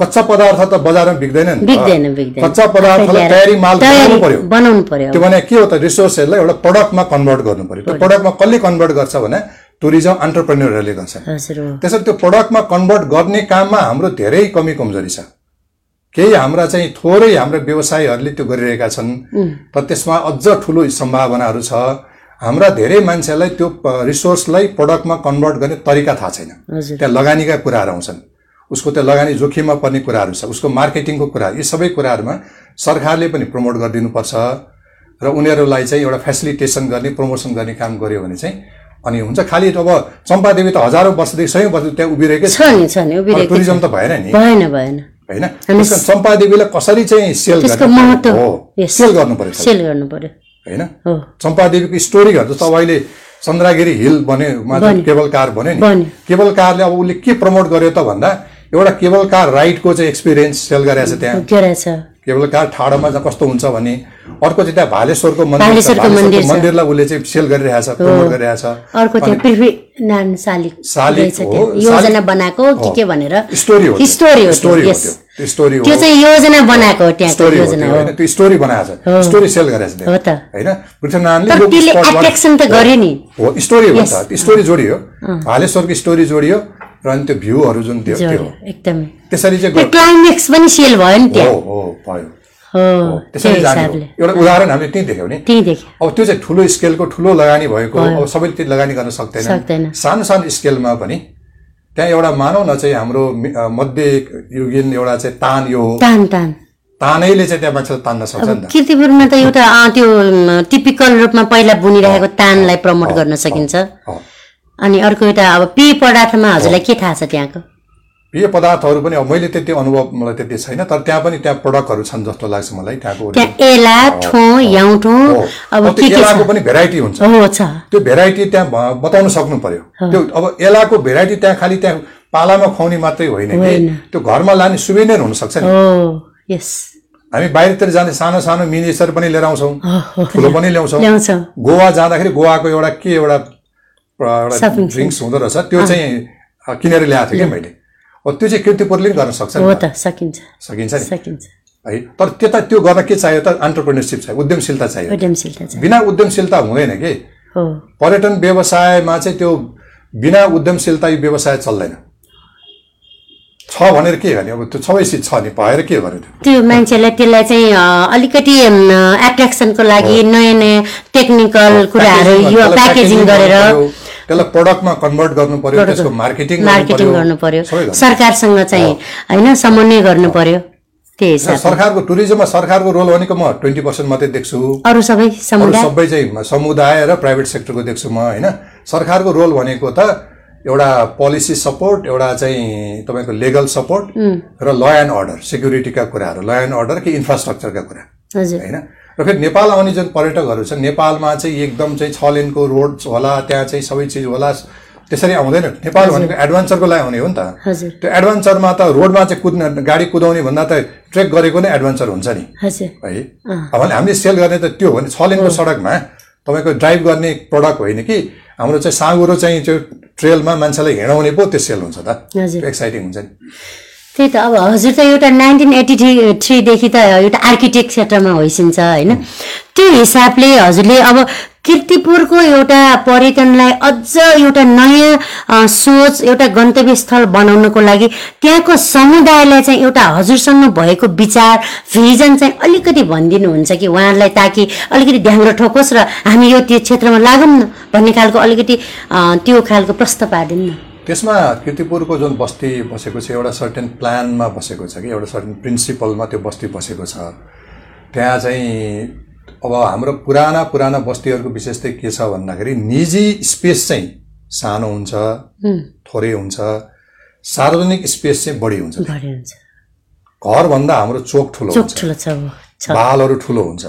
कच्चा पदार्थ त बजारमा बिग्दैन नि त। बिग्दैन बिग्दैन कच्चा आफै पदार्थलाई ल्याएर तयारी माल बनाउनु पर्यो तयारी बनाउनु पर्यो त्यो भने के हो त रिसोर्सेसलाई एउटा प्रडक्टमा कन्भर्ट गर्नु पर्यो त्यो प्रडक्टमा कसले कन्भर्ट गर्छ भने टुरिज्म अन्टरप्रेन्योरहरूले गर्छन् हजुर हो त्यसरी त्यो प्रडक्टमा कन्भर्ट गर्ने काममा हाम्रो धेरै कमी कमजोरी छ केही हाम्रा चाहिँ थोरै हाम्रा व्यवसायहरूले त्यो गरिरहेका छन् र त्यसमा अझ ठुलो सम्भावनाहरू छ हाम्रा धेरै मान्छेलाई त्यो प- रिसोर्सलाई प्रडक्टमा कन्भर्ट गर्ने तरिका थाहा छैन हजुर त्यहाँ लगानीका कुराहरू आउँछन् उसको त्यो लगानी जोखिममा पर्ने कुराहरू छ उसको मार्केटिङको कुराहरू यी सबै कुराहरूमा सरकारले पनि प्रमोट गरिदिनुपर्छ र उनीहरूलाई चाहिँ एउटा फेसिलिटेसन गर्ने प्रमोसन गर्ने काम गर्यो भने चाहिँ अनि हुन्छ खालि अब चम्पादेवी त हजारौँ वर्षदेखि सयौँ वर्षदेखि त्यहाँ उभिरहेकै छ नि छ नि अब उभिरहेको टुरिज्म त भएन नि भएन भएन होइन त्यसमा चम्पादेवीलाई कसरी चाहिँ सेल त्यसको गर्ने? महत्त्व हो यस। सेल गर्नु पर्यो सेल गर्नु पर्यो होइन हो चम्पादेवीको स्टोरीहरू त अहिले चन्द्रागिरी हिल बन्यो मात्र केबल कार बन्यो नि बन्यो। केबल कारले अब उसले के प्रमोट गर्यो त भन्दा एउटा केबल कार राइडको चाहिँ एक्सपिरियन्स सेल गरेको छ त्यहाँ के रहेछ केबल कार ठाडोमा चाहिँ कस्तो हुन्छ भने अर्को चाहिँ त्यहाँ भालेश्वरको मन्दिर छ। भालेश्वरको मन्दिर भालेश्वरको छ। मन्दिरलाई उसले चाहिँ सेल गरिरहेछ प्रमोट गरिरहेछ अर्को त्यो पृथ्वी नारायण शालिक शालिक रहेछ हो, त्यहाँ। शालिक- योजना बनाएको हो कि के भनेर स्टोरी हो त्यो। स्टोरी हो स्टोरी त्यो, हो yes। त्यो त्यो स्टोरी हो त्यो चाहिँ योजना बनाएको हो त्यहाँको स्टोरी हो त्यो योजना हो होइन त्यो स्टोरी बनाएको छ स्टोरी सेल गरेको छ हो त्यहाँ त होइन पृथ्वीनारायणले तर यो त्यसले spotlight- एट्र्याक्सन त गर्यो नि हो स्टोरी हो नि त त्यो स्टोरी जोडियो हालेश्वरको स्टोरी जोडियो र अनि त्यो भ्यूहरू जुन त्यो त्यो जोड्यो एकदमै त्यसरी चाहिँ त्यो गयो। क्लाइमेक्स पनि सेल भयो नि हो त्यहाँ हो भयो हो त्यो त्यसरी जाने हो। हिसाबले एउटा उदाहरण हामीले त्यहीँ देख्यौँ नि त्यही देखेँ अब त्यो चाहिँ ठुलो स्केलको ठुलो लगानी भएको अब सबैले त्यो लगानी गर्न सक्दैन। सक्दैन सानो सानो स्केलमा पनि त्यहाँ एउटा मानौ न चाहिँ हाम्रो मि- अ, मध्ययुगीन एउटा चाहिँ तान यो हो। तान तान तानैले चाहिँ त्यहाँ मान्छेलाई तान्न सक्छ नि त किर्तिपुरमा त एउटा अँ, त्यो म, टिपिकल रूपमा पहिला बुनिरहेको तानलाई प्रमोट गर्न सकिन्छ हो। अनि अर्को एउटा अब पेय पदार्थमा हजुरलाई के थाहा छ त्यहाँको पेय पदार्थहरू पनि अब मैले त्यति अनुभव मलाई त्यति छैन तर त्यहाँ पनि त्यहाँ प्रडक्टहरू छन् जस्तो लाग्छ मलाई त्यहाँको त्यहाँ एला ठो याउँठो हो। अब अब के के त्यो छ एलाको पनि भेराइटी हुन्छ हो छ त्यो भेराइटी त्यहाँ भ- बताउन सक्नु पर्यो त्यो अब एलाको भेराइटी त्यहाँ खालि त्यहाँ पालामा खुवाउने मात्रै होइन कि होइन। त्यो घरमा लाने सुवेनियर हुनसक्छ नि हो यस हामी बाहिरतिर जाने सानो सानो मिनिस्टर पनि लिएर आउँछौँ हो, हो ठुलो पनि ल्याउँछौँ ल्याउँछ गोवा जाँदाखेरि गोवाको एउटा के एउटा प्र- एउटा Shopping ड्रिङ्क्स हुँदो रहेछ त्यो चाहिँ अँ, किनेर ल्याएको थिएँ कि मैले अब त्यो चाहिँ किर्तिपुरले पनि गर्न सक्छ नि हो त। त सकिन्छ सकिन्छ नि सकिन्छ है तर त्यता त्यो गर्न के चाहियो त अन्टरप्रेनरसिप चाहियो उद्यमशीलता चाहियो उद्यमशीलता छ बिना उद्यमशीलता हुँदैन कि हो पर्यटन व्यवसायमा चाहिँ त्यो बिना उद्यमशीलता यो व्यवसाय चल्दैन छ भनेर के गर्ने अब त्यो सबै चिज छ नि भएर के गर्ने त्यो त्यो मान्छेलाई त्यसलाई चाहिँ अ, अलिकति एट्र्याक्सनको लागि नयाँ नयाँ टेक्निकल कुराहरू Packaging यो गर्नु- त्यसलाई प्याकेजिङ packaging गरेर गर्नु पर्यो, त्यसलाई प्रडक्टमा कन्भर्ट गर्नु पर्यो त्यसको मार्केटिङ मार्केटिङ गर्नु पर्यो सबै गर्नु सरकारसँग चाहिँ होइन समन्वय गर्नु पर्यो त्यही हिसाब सरकारको टुरिज्ममा सरकारको रोल भनेको म ट्वेन्टी पर्सेन्ट मात्रै देख्छु अरू सबै अरू समुदाय सबै चाहिँ समुदाय र प्राइभेट सेक्टरको देख्छु म होइन सरकारको रोल भनेको त एउटा पोलिसी सपोर्ट एउटा चाहिँ तपाईँको लेगल सपोर्ट र ल एन्ड अर्डर सेक्युरिटीका कुराहरू ल एन्ड अर्डर कि इन्फ्रास्ट्रक्चरका कुरा हजुर होइन र फेरि नेपाल आउने जुन पर्यटकहरू छन् नेपालमा चाहिँ एकदम चाहिँ छ लेनको रोड होला त्यहाँ चाहिँ सबै चिज होला त्यसरी आउँदैन नेपाल भनेको एडभेन्चरको लागि आउने हो नि त हजुर त्यो एडभेन्चरमा त रोडमा चाहिँ कुद्न गाडी कुदाउने भन्दा त ट्रेक गरेको नै एडभेन्चर हुन्छ नि हजुर है अब भने हामीले सेल गर्ने त त्यो हो नि छ लेनको सडकमा तपाईँको ड्राइभ गर्ने प्रडक्ट होइन कि हाम्रो चाहिँ साँगुरो चाहिँ त्यो ट्रेलमा मान्छेलाई हिँडाउने पो त्यो सेल हुन्छ त हजुर त्यो एक्साइटिङ हुन्छ नि त्यही त अब हजुर त एउटा नाइन्टिन एट्टी थ्री थ्रीदेखि त एउटा आर्किटेक्ट क्षेत्रमा होइसिन्छ होइन त्यो हिसाबले हजुरले अब किर्तिपुरको एउटा पर्यटनलाई अझ एउटा नयाँ अ, सोच एउटा गन्तव्य स्थल बनाउनको लागि त्यहाँको समुदायलाई चाहिँ एउटा हजुरसँग भएको विचार भिजन चाहिँ अलिकति भनिदिनुहुन्छ कि उहाँहरूलाई ताकि अलिकति ढ्याङ्ग्रो ठोकोस् र हामी यो त्यो क्षेत्रमा लागौँ न भन्ने खालको अलिकति अ, त्यो खालको प्रस्ताव पारिदिनु न त्यसमा किर्तिपुरको जुन बस्ती बसेको छ एउटा सर्टेन प्लानमा बसेको छ कि एउटा सर्टेन प्रिन्सिपलमा त्यो बस्ती बसेको छ त्यहाँ चाहिँ अब हाम्रो पुराना पुराना बस्तीहरूको विशेषता के छ भन्दाखेरि निजी स्पेस चाहिँ सानो हुन्छ थोरै हुन्छ सार्वजनिक स्पेस चाहिँ बढी हुन्छ भरे हुन्छ घरभन्दा हाम्रो चोक ठुलो चोक हुन्छ ठुलो छ हो, छ बालहरू ठुलो हुन्छ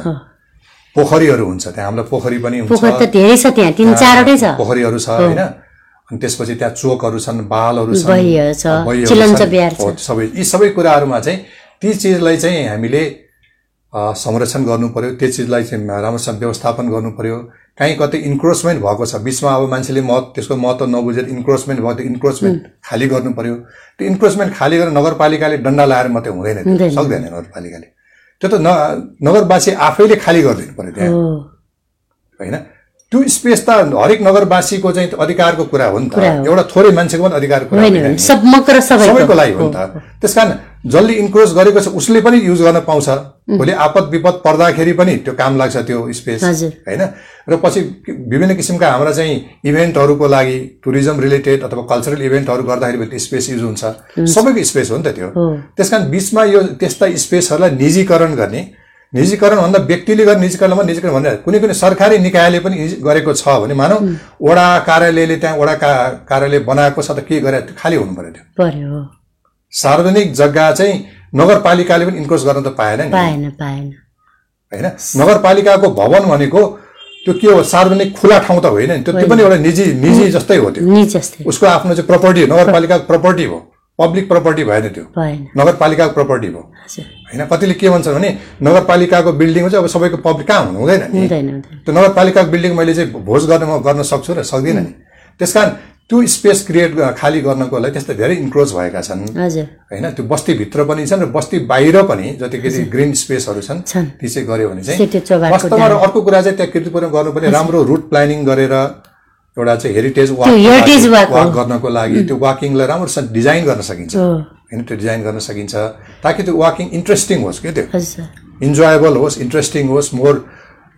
पोखरीहरू हुन्छ त्यहाँ हाम्रो पोखरी पनि हुन्छ पोखर त धेरै छ त्यहाँ तिन चारवटै छ पोखरीहरू छ होइन अनि त्यसपछि त्यहाँ चोकहरू छन् बालहरू छन् बहिहरू छ, बहिहरू चिलन्च छन्। बिहार छ। हो, सबै यी सबै कुराहरूमा चाहिँ ती चिजलाई चाहिँ हामीले अ, संरक्षण गर्नु पर्यो त्यो चिजलाई चाहिँ राम्रोसँग व्यवस्थापन गर्नु पर्यो काहीँ कतै इन्क्रोचमेन्ट भएको छ बिचमा अब मान्छेले महत्त्व त्यसको महत्त्व नबुझेर इन्क्रोचमेन्ट भयो त्यो इन्क्रोचमेन्ट खाली गर्नु पर्यो त्यो इन्क्रोचमेन्ट खाली गरेर नगरपालिकाले डन्डा लाएर मात्रै हुँदैन त्यो, हुँदैन। सक्दैन नगरपालिकाले त्यो त न नगरवासी आफैले खाली गरिदिनु पर्यो त्यहाँ हो होइन त्यो स्पेस त हरेक नगरवासीको चाहिँ अधिकारको कुरा हो नि त कुरा हो। एउटा थोरै मान्छेको पनि अधिकारको कुरा होइन होइन होइन नि। सब मकर सबैको सबैको लागि हो नि त त्यस कारण जसले इन्क्रोच गरेको छ उसले पनि युज गर्न पाउँछ भोलि आपद विपद पर्दाखेरि पनि त्यो काम लाग्छ त्यो स्पेस हजुर। होइन र पछि विभिन्न किसिमका हाम्रा चाहिँ इभेन्टहरूको लागि टुरिज्म रिलेटेड अथवा कल्चरल इभेन्टहरू गर्दाखेरि पनि त्यो स्पेस युज हुन्छ सबैको स्पेस हो नि त त्यो हो। त्यस कारण बिचमा यो त्यस्ता स्पेसहरूलाई निजीकरण गर्ने निजीकरण भन्दा व्यक्तिले गर्ने निजीकरणमा निजीकरण भनेर कुनै कुनै सरकारी निकायले पनि निजी- गरेको छ भने मानौ वडा कार्यालयले त्यहाँ वडा का कार्यालय बनाएको छ त के गरे खाली हुनु पर्यो त्यो पर्यो हो सार्वजनिक जग्गा चाहिँ नगरपालिकाले पनि इन्क्रोच गर्न त पाएन नि पाएन पाएन होइन नगरपालिकाको भवन भनेको त्यो के हो सार्वजनिक खुला ठाउँ त होइन नि त्यो त्यो पनि एउटा निजी निजी जस्तै हो त्यो नि जस्तै उसको आफ्नो चाहिँ प्रपर्टी नगरपालिकाको प्रपर्टी हो पब्लिक प्रपर्टी भएन त्यो भएन नगरपालिकाको प्रपर्टी हो हजुर होइन कतिले के भन्छन् भने नगरपालिकाको बिल्डिङ चाहिँ अब सबैको पब्लिक कहाँ हुनु हुँदैन नि हुँदैन हुँदैन त्यो नगरपालिकाको बिल्डिङ मैले चाहिँ भोज गर्न म गर्न सक्छु र सक्दिनँ नि त्यस कारण त्यो स्पेस क्रिएट खाली गर्नको लागि त्यस्ता धेरै इन्क्रोच भएका छन् हजुर होइन त्यो बस्तीभित्र पनि छन् र बस्ती बाहिर पनि जतिखेर ग्रिन स्पेसहरू छन् छन्। ती चाहिँ गऱ्यो भने सेते चाहिँ चोभाको वास्तवमा र अर्को कुरा चाहिँ त्यहाँ किर्तिपुरमा गर्नु पनि राम्रो रुट प्लानिङ गरेर एउटा चाहिँ हेरिटेज वाक त्यो heritage walk हो। वाक गर्नको लागि त्यो वाकिङलाई राम्रोसँग डिजाइन गर्न सकिन्छ हो होइन त्यो डिजाइन गर्न सकिन्छ ताकि त्यो वाकिङ इन्ट्रेस्टिङ होस् क्या त्यो हजुर इन्जोएबल होस् इन्ट्रेस्टिङ होस् मोर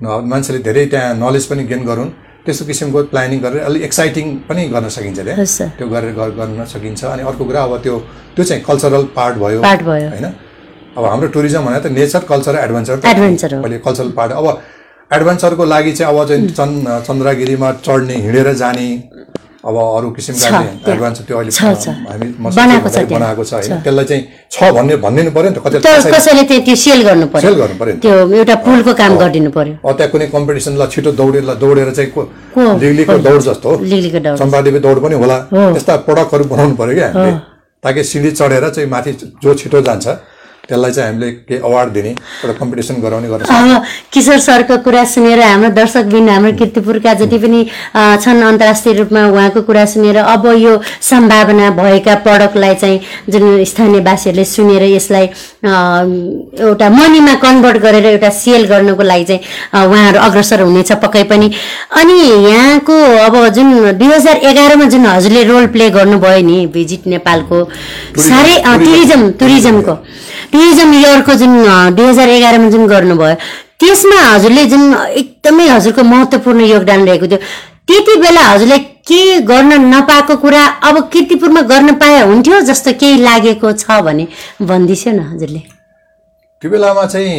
न- मान्छेले धेरै त्यहाँ नलेज पनि गेन गरून् त्यस्तो किसिमको प्लानिङ गरेर अलिक एक्साइटिङ पनि गर्न सकिन्छ हजुर त्यहाँ सर। त्यो गरेर गर- गर्न सकिन्छ अनि अर्को कुरा अब त्यो त्यो चाहिँ कल्चरल पार्ट भयो पार्ट भयो। होइन अब हाम्रो टुरिज्म भने त नेचर कल्चर एडभेन्चर Adventure हो। Mm. अहिले कल्चरल पार्ट अब एडभेन्चरको लागि चाहिँ अब चाहिँ चन् चन्द्रगिरीमा चढ्ने हिँडेर जाने अब अरू किसिमका छ, चाहिँ त्यहाँ। एडभेन्चर त्यो अहिले छ, छ। हामी म बनाएको छ सोचेको त्यहाँ। बनाएको छ होइन त्यसलाई चाहिँ छ भन्ने भनिदिनु पर्यो नि त कति तर कसैले कसैले त्यहाँ त्यो सेल गर्नु पर्यो सेल गर्नु पर्यो नि त। त्यो एउटा पुलको काम गरिदिनु पर्यो अब त्यहाँ कुनै कम्पिटिसनलाई छिटो दौडेर दौडेर चाहिँ को को? लिगलीको दौड जस्तो हो लिगलीको दौड। चम्पादेवी दौड पनि होला हो। त्यस्ता प्रडक्टहरू बनाउनु पर्यो क्या हामीले ताकि सिँढी चढेर चाहिँ माथि जो छिटो जान्छ त्यसलाई चाहिँ हामीले के अवार्ड दिने एउटा कम्पिटिसन गराउने गर्छ अब किशोर सरको कुरा सुनेर हाम्रो दर्शकबिन हाम्रो किर्तिपुरका जति पनि अ, छन् अन्तर्राष्ट्रिय रूपमा उहाँको कुरा सुनेर अब यो सम्भावना भएका प्रडक्टलाई चाहिँ जुन स्थानीयवासीहरूले सुनेर यसलाई अ, एउटा मनीमा कन्भर्ट गरेर एउटा सेल गर्नुको लागि चाहिँ अ, उहाँहरू अग्रसर हुनेछ पक्कै पनि अनि यहाँको अब जुन दुई हजार एघारमा जुन हजुरले रोल प्ले गर्नुभयो नि भिजिट नेपालको साह्रै अ, टुरिज्म टुरिज्मको टुरिज्म इयरको जुन दुई हजार एघारमा जुन गर्नुभयो त्यसमा हजुरले जुन एकदमै हजुरको महत्त्वपूर्ण योगदान रहेको थियो त्यति बेला हजुरले के गर्न नपाएको कुरा अब किर्तिपुरमा गर्न पाए हुन्थ्यो जस्तो केही लागेको छ भने भनिदिसो न हजुरले त्यो बेलामा चाहिँ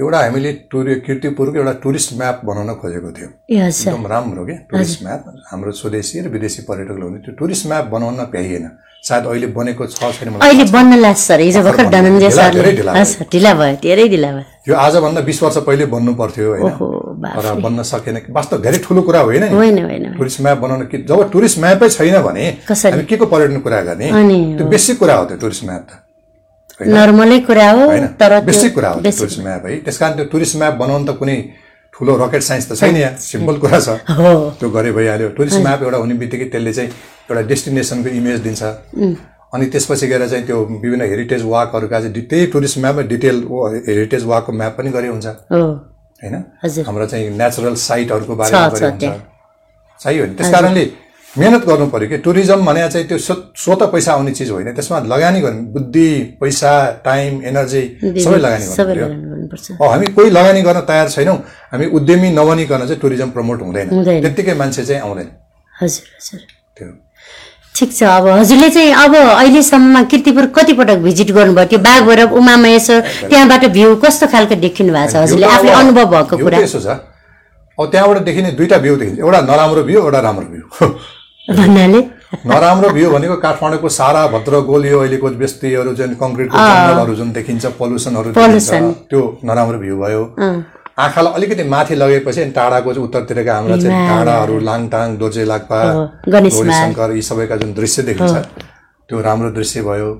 एउटा हामीले टुरि किर्तिपुरको एउटा टुरिस्ट म्याप बनाउन खोजेको थियो ए हजुर एकदम राम्रो क्या टुरिस्ट म्याप हाम्रो स्वदेशी र विदेशी पर्यटकले हुने त्यो टुरिस्ट म्याप बनाउन भ्याइएन सायद अहिले बनेको छ छैन मलाई अहिले बन्न लाग्छ सर हिजो भर्खर भर्खर धनञ्जय ढिला- सरले धेरै ढिला हस् ढिला भयो धेरै ढिला भयो यो आजभन्दा बिस वर्ष पहिले बन्नु पर्थ्यो होइन ओहो बाफ तर बन्न सकेन वास्तव धेरै ठुलो कुरा होइन नि होइन होइन होइन। टुरिस्ट म्याप बनाउनु कि जब टुरिस्ट म्यापै छैन भने कसरी? हामी के को पर्यटन कुरा गर्ने अनि त्यो बेसिक कुरा हो त्यो टुरिस्ट म्याप त नर्मलै कुरा हो होइन तर त्यो बेसिक कुरा हो त्यो basic- टुरिस्ट म्याप है त्यस कारण त्यो टुरिस्ट म्याप बनाउनु त कुनै ठुलो रकेट साइन्स त छैन यहाँ सिम्पल कुरा छ हो त्यो गरे भइहाल्यो टुरिस्ट म्याप एउटा हुने बित्तिकै त्यसले चाहिँ एउटा डेस्टिनेसनको इमेज दिन्छ अनि त्यसपछि गएर चाहिँ त्यो विभिन्न हेरिटेज वाकहरूका चाहिँ डि- त्यही टुरिस्ट म्यापमा डिटेल वा- हेरिटेज वाकको म्याप पनि गरे हुन्छ हो होइन हजुर। हाम्रो चाहिँ नेचुरल साइटहरूको बारेमा छ, छ, गरेको हुन्छ त्यहाँ। चाहियो नि त्यस कारणले मिहिनेत गर्नु पऱ्यो कि टुरिज्म भने चाहिँ त्यो स्व- स्वत पैसा आउने चिज होइन त्यसमा लगानी गर्नु बुद्धि पैसा टाइम एनर्जी सबै लगानी गर्नु सबै पऱ्यो लगानी गर्नुपर्छ अब हामी कोही लगानी गर्न तयार छैनौँ हामी उद्यमी नबनिकन चाहिँ टुरिज्म प्रमोट हुँदैन हुँदैन। त्यत्तिकै मान्छे चाहिँ आउँदैन हजुर हजुर त्यो ठिक छ अब हजुरले चाहिँ अब अहिलेसम्ममा किर्तिपुर कतिपटक भिजिट गर्नुभयो त्यो बाघ भैरव उमा महेश्वर त्यहाँबाट भ्यू कस्तो खालको देखिनु भएको छ हजुरले भ्यू त आफूले अब- अनुभव भएको भ्यू त कुरा यसो छ अब त्यहाँबाट देखिने दुईवटा भ्यू देखिन्छ एउटा नराम्रो भ्यू एउटा राम्रो भ्यू भन्नाले नराम्रो भ्यू भनेको काठमाडौँको सारा भद्र गोल यो अहिलेको व्यस्तीहरू जुन कङ्क्रिटको जङ्गलहरू जुन देखिन्छ पल्युसनहरू देखिन्छ Pollution. त्यो नराम्रो भ्यू भयो अँ, आँखालाई अलिकति माथि लगेपछि अनि टाढाको चाहिँ उत्तरतिरका हाम्रा चाहिँ डाँडाहरू लाङटाङ दोर्जे लाग्पा हो, गणेश मार्ग। शङ्कर यी सबैका जुन दृश्य देखिन्छ त्यो राम्रो दृश्य भयो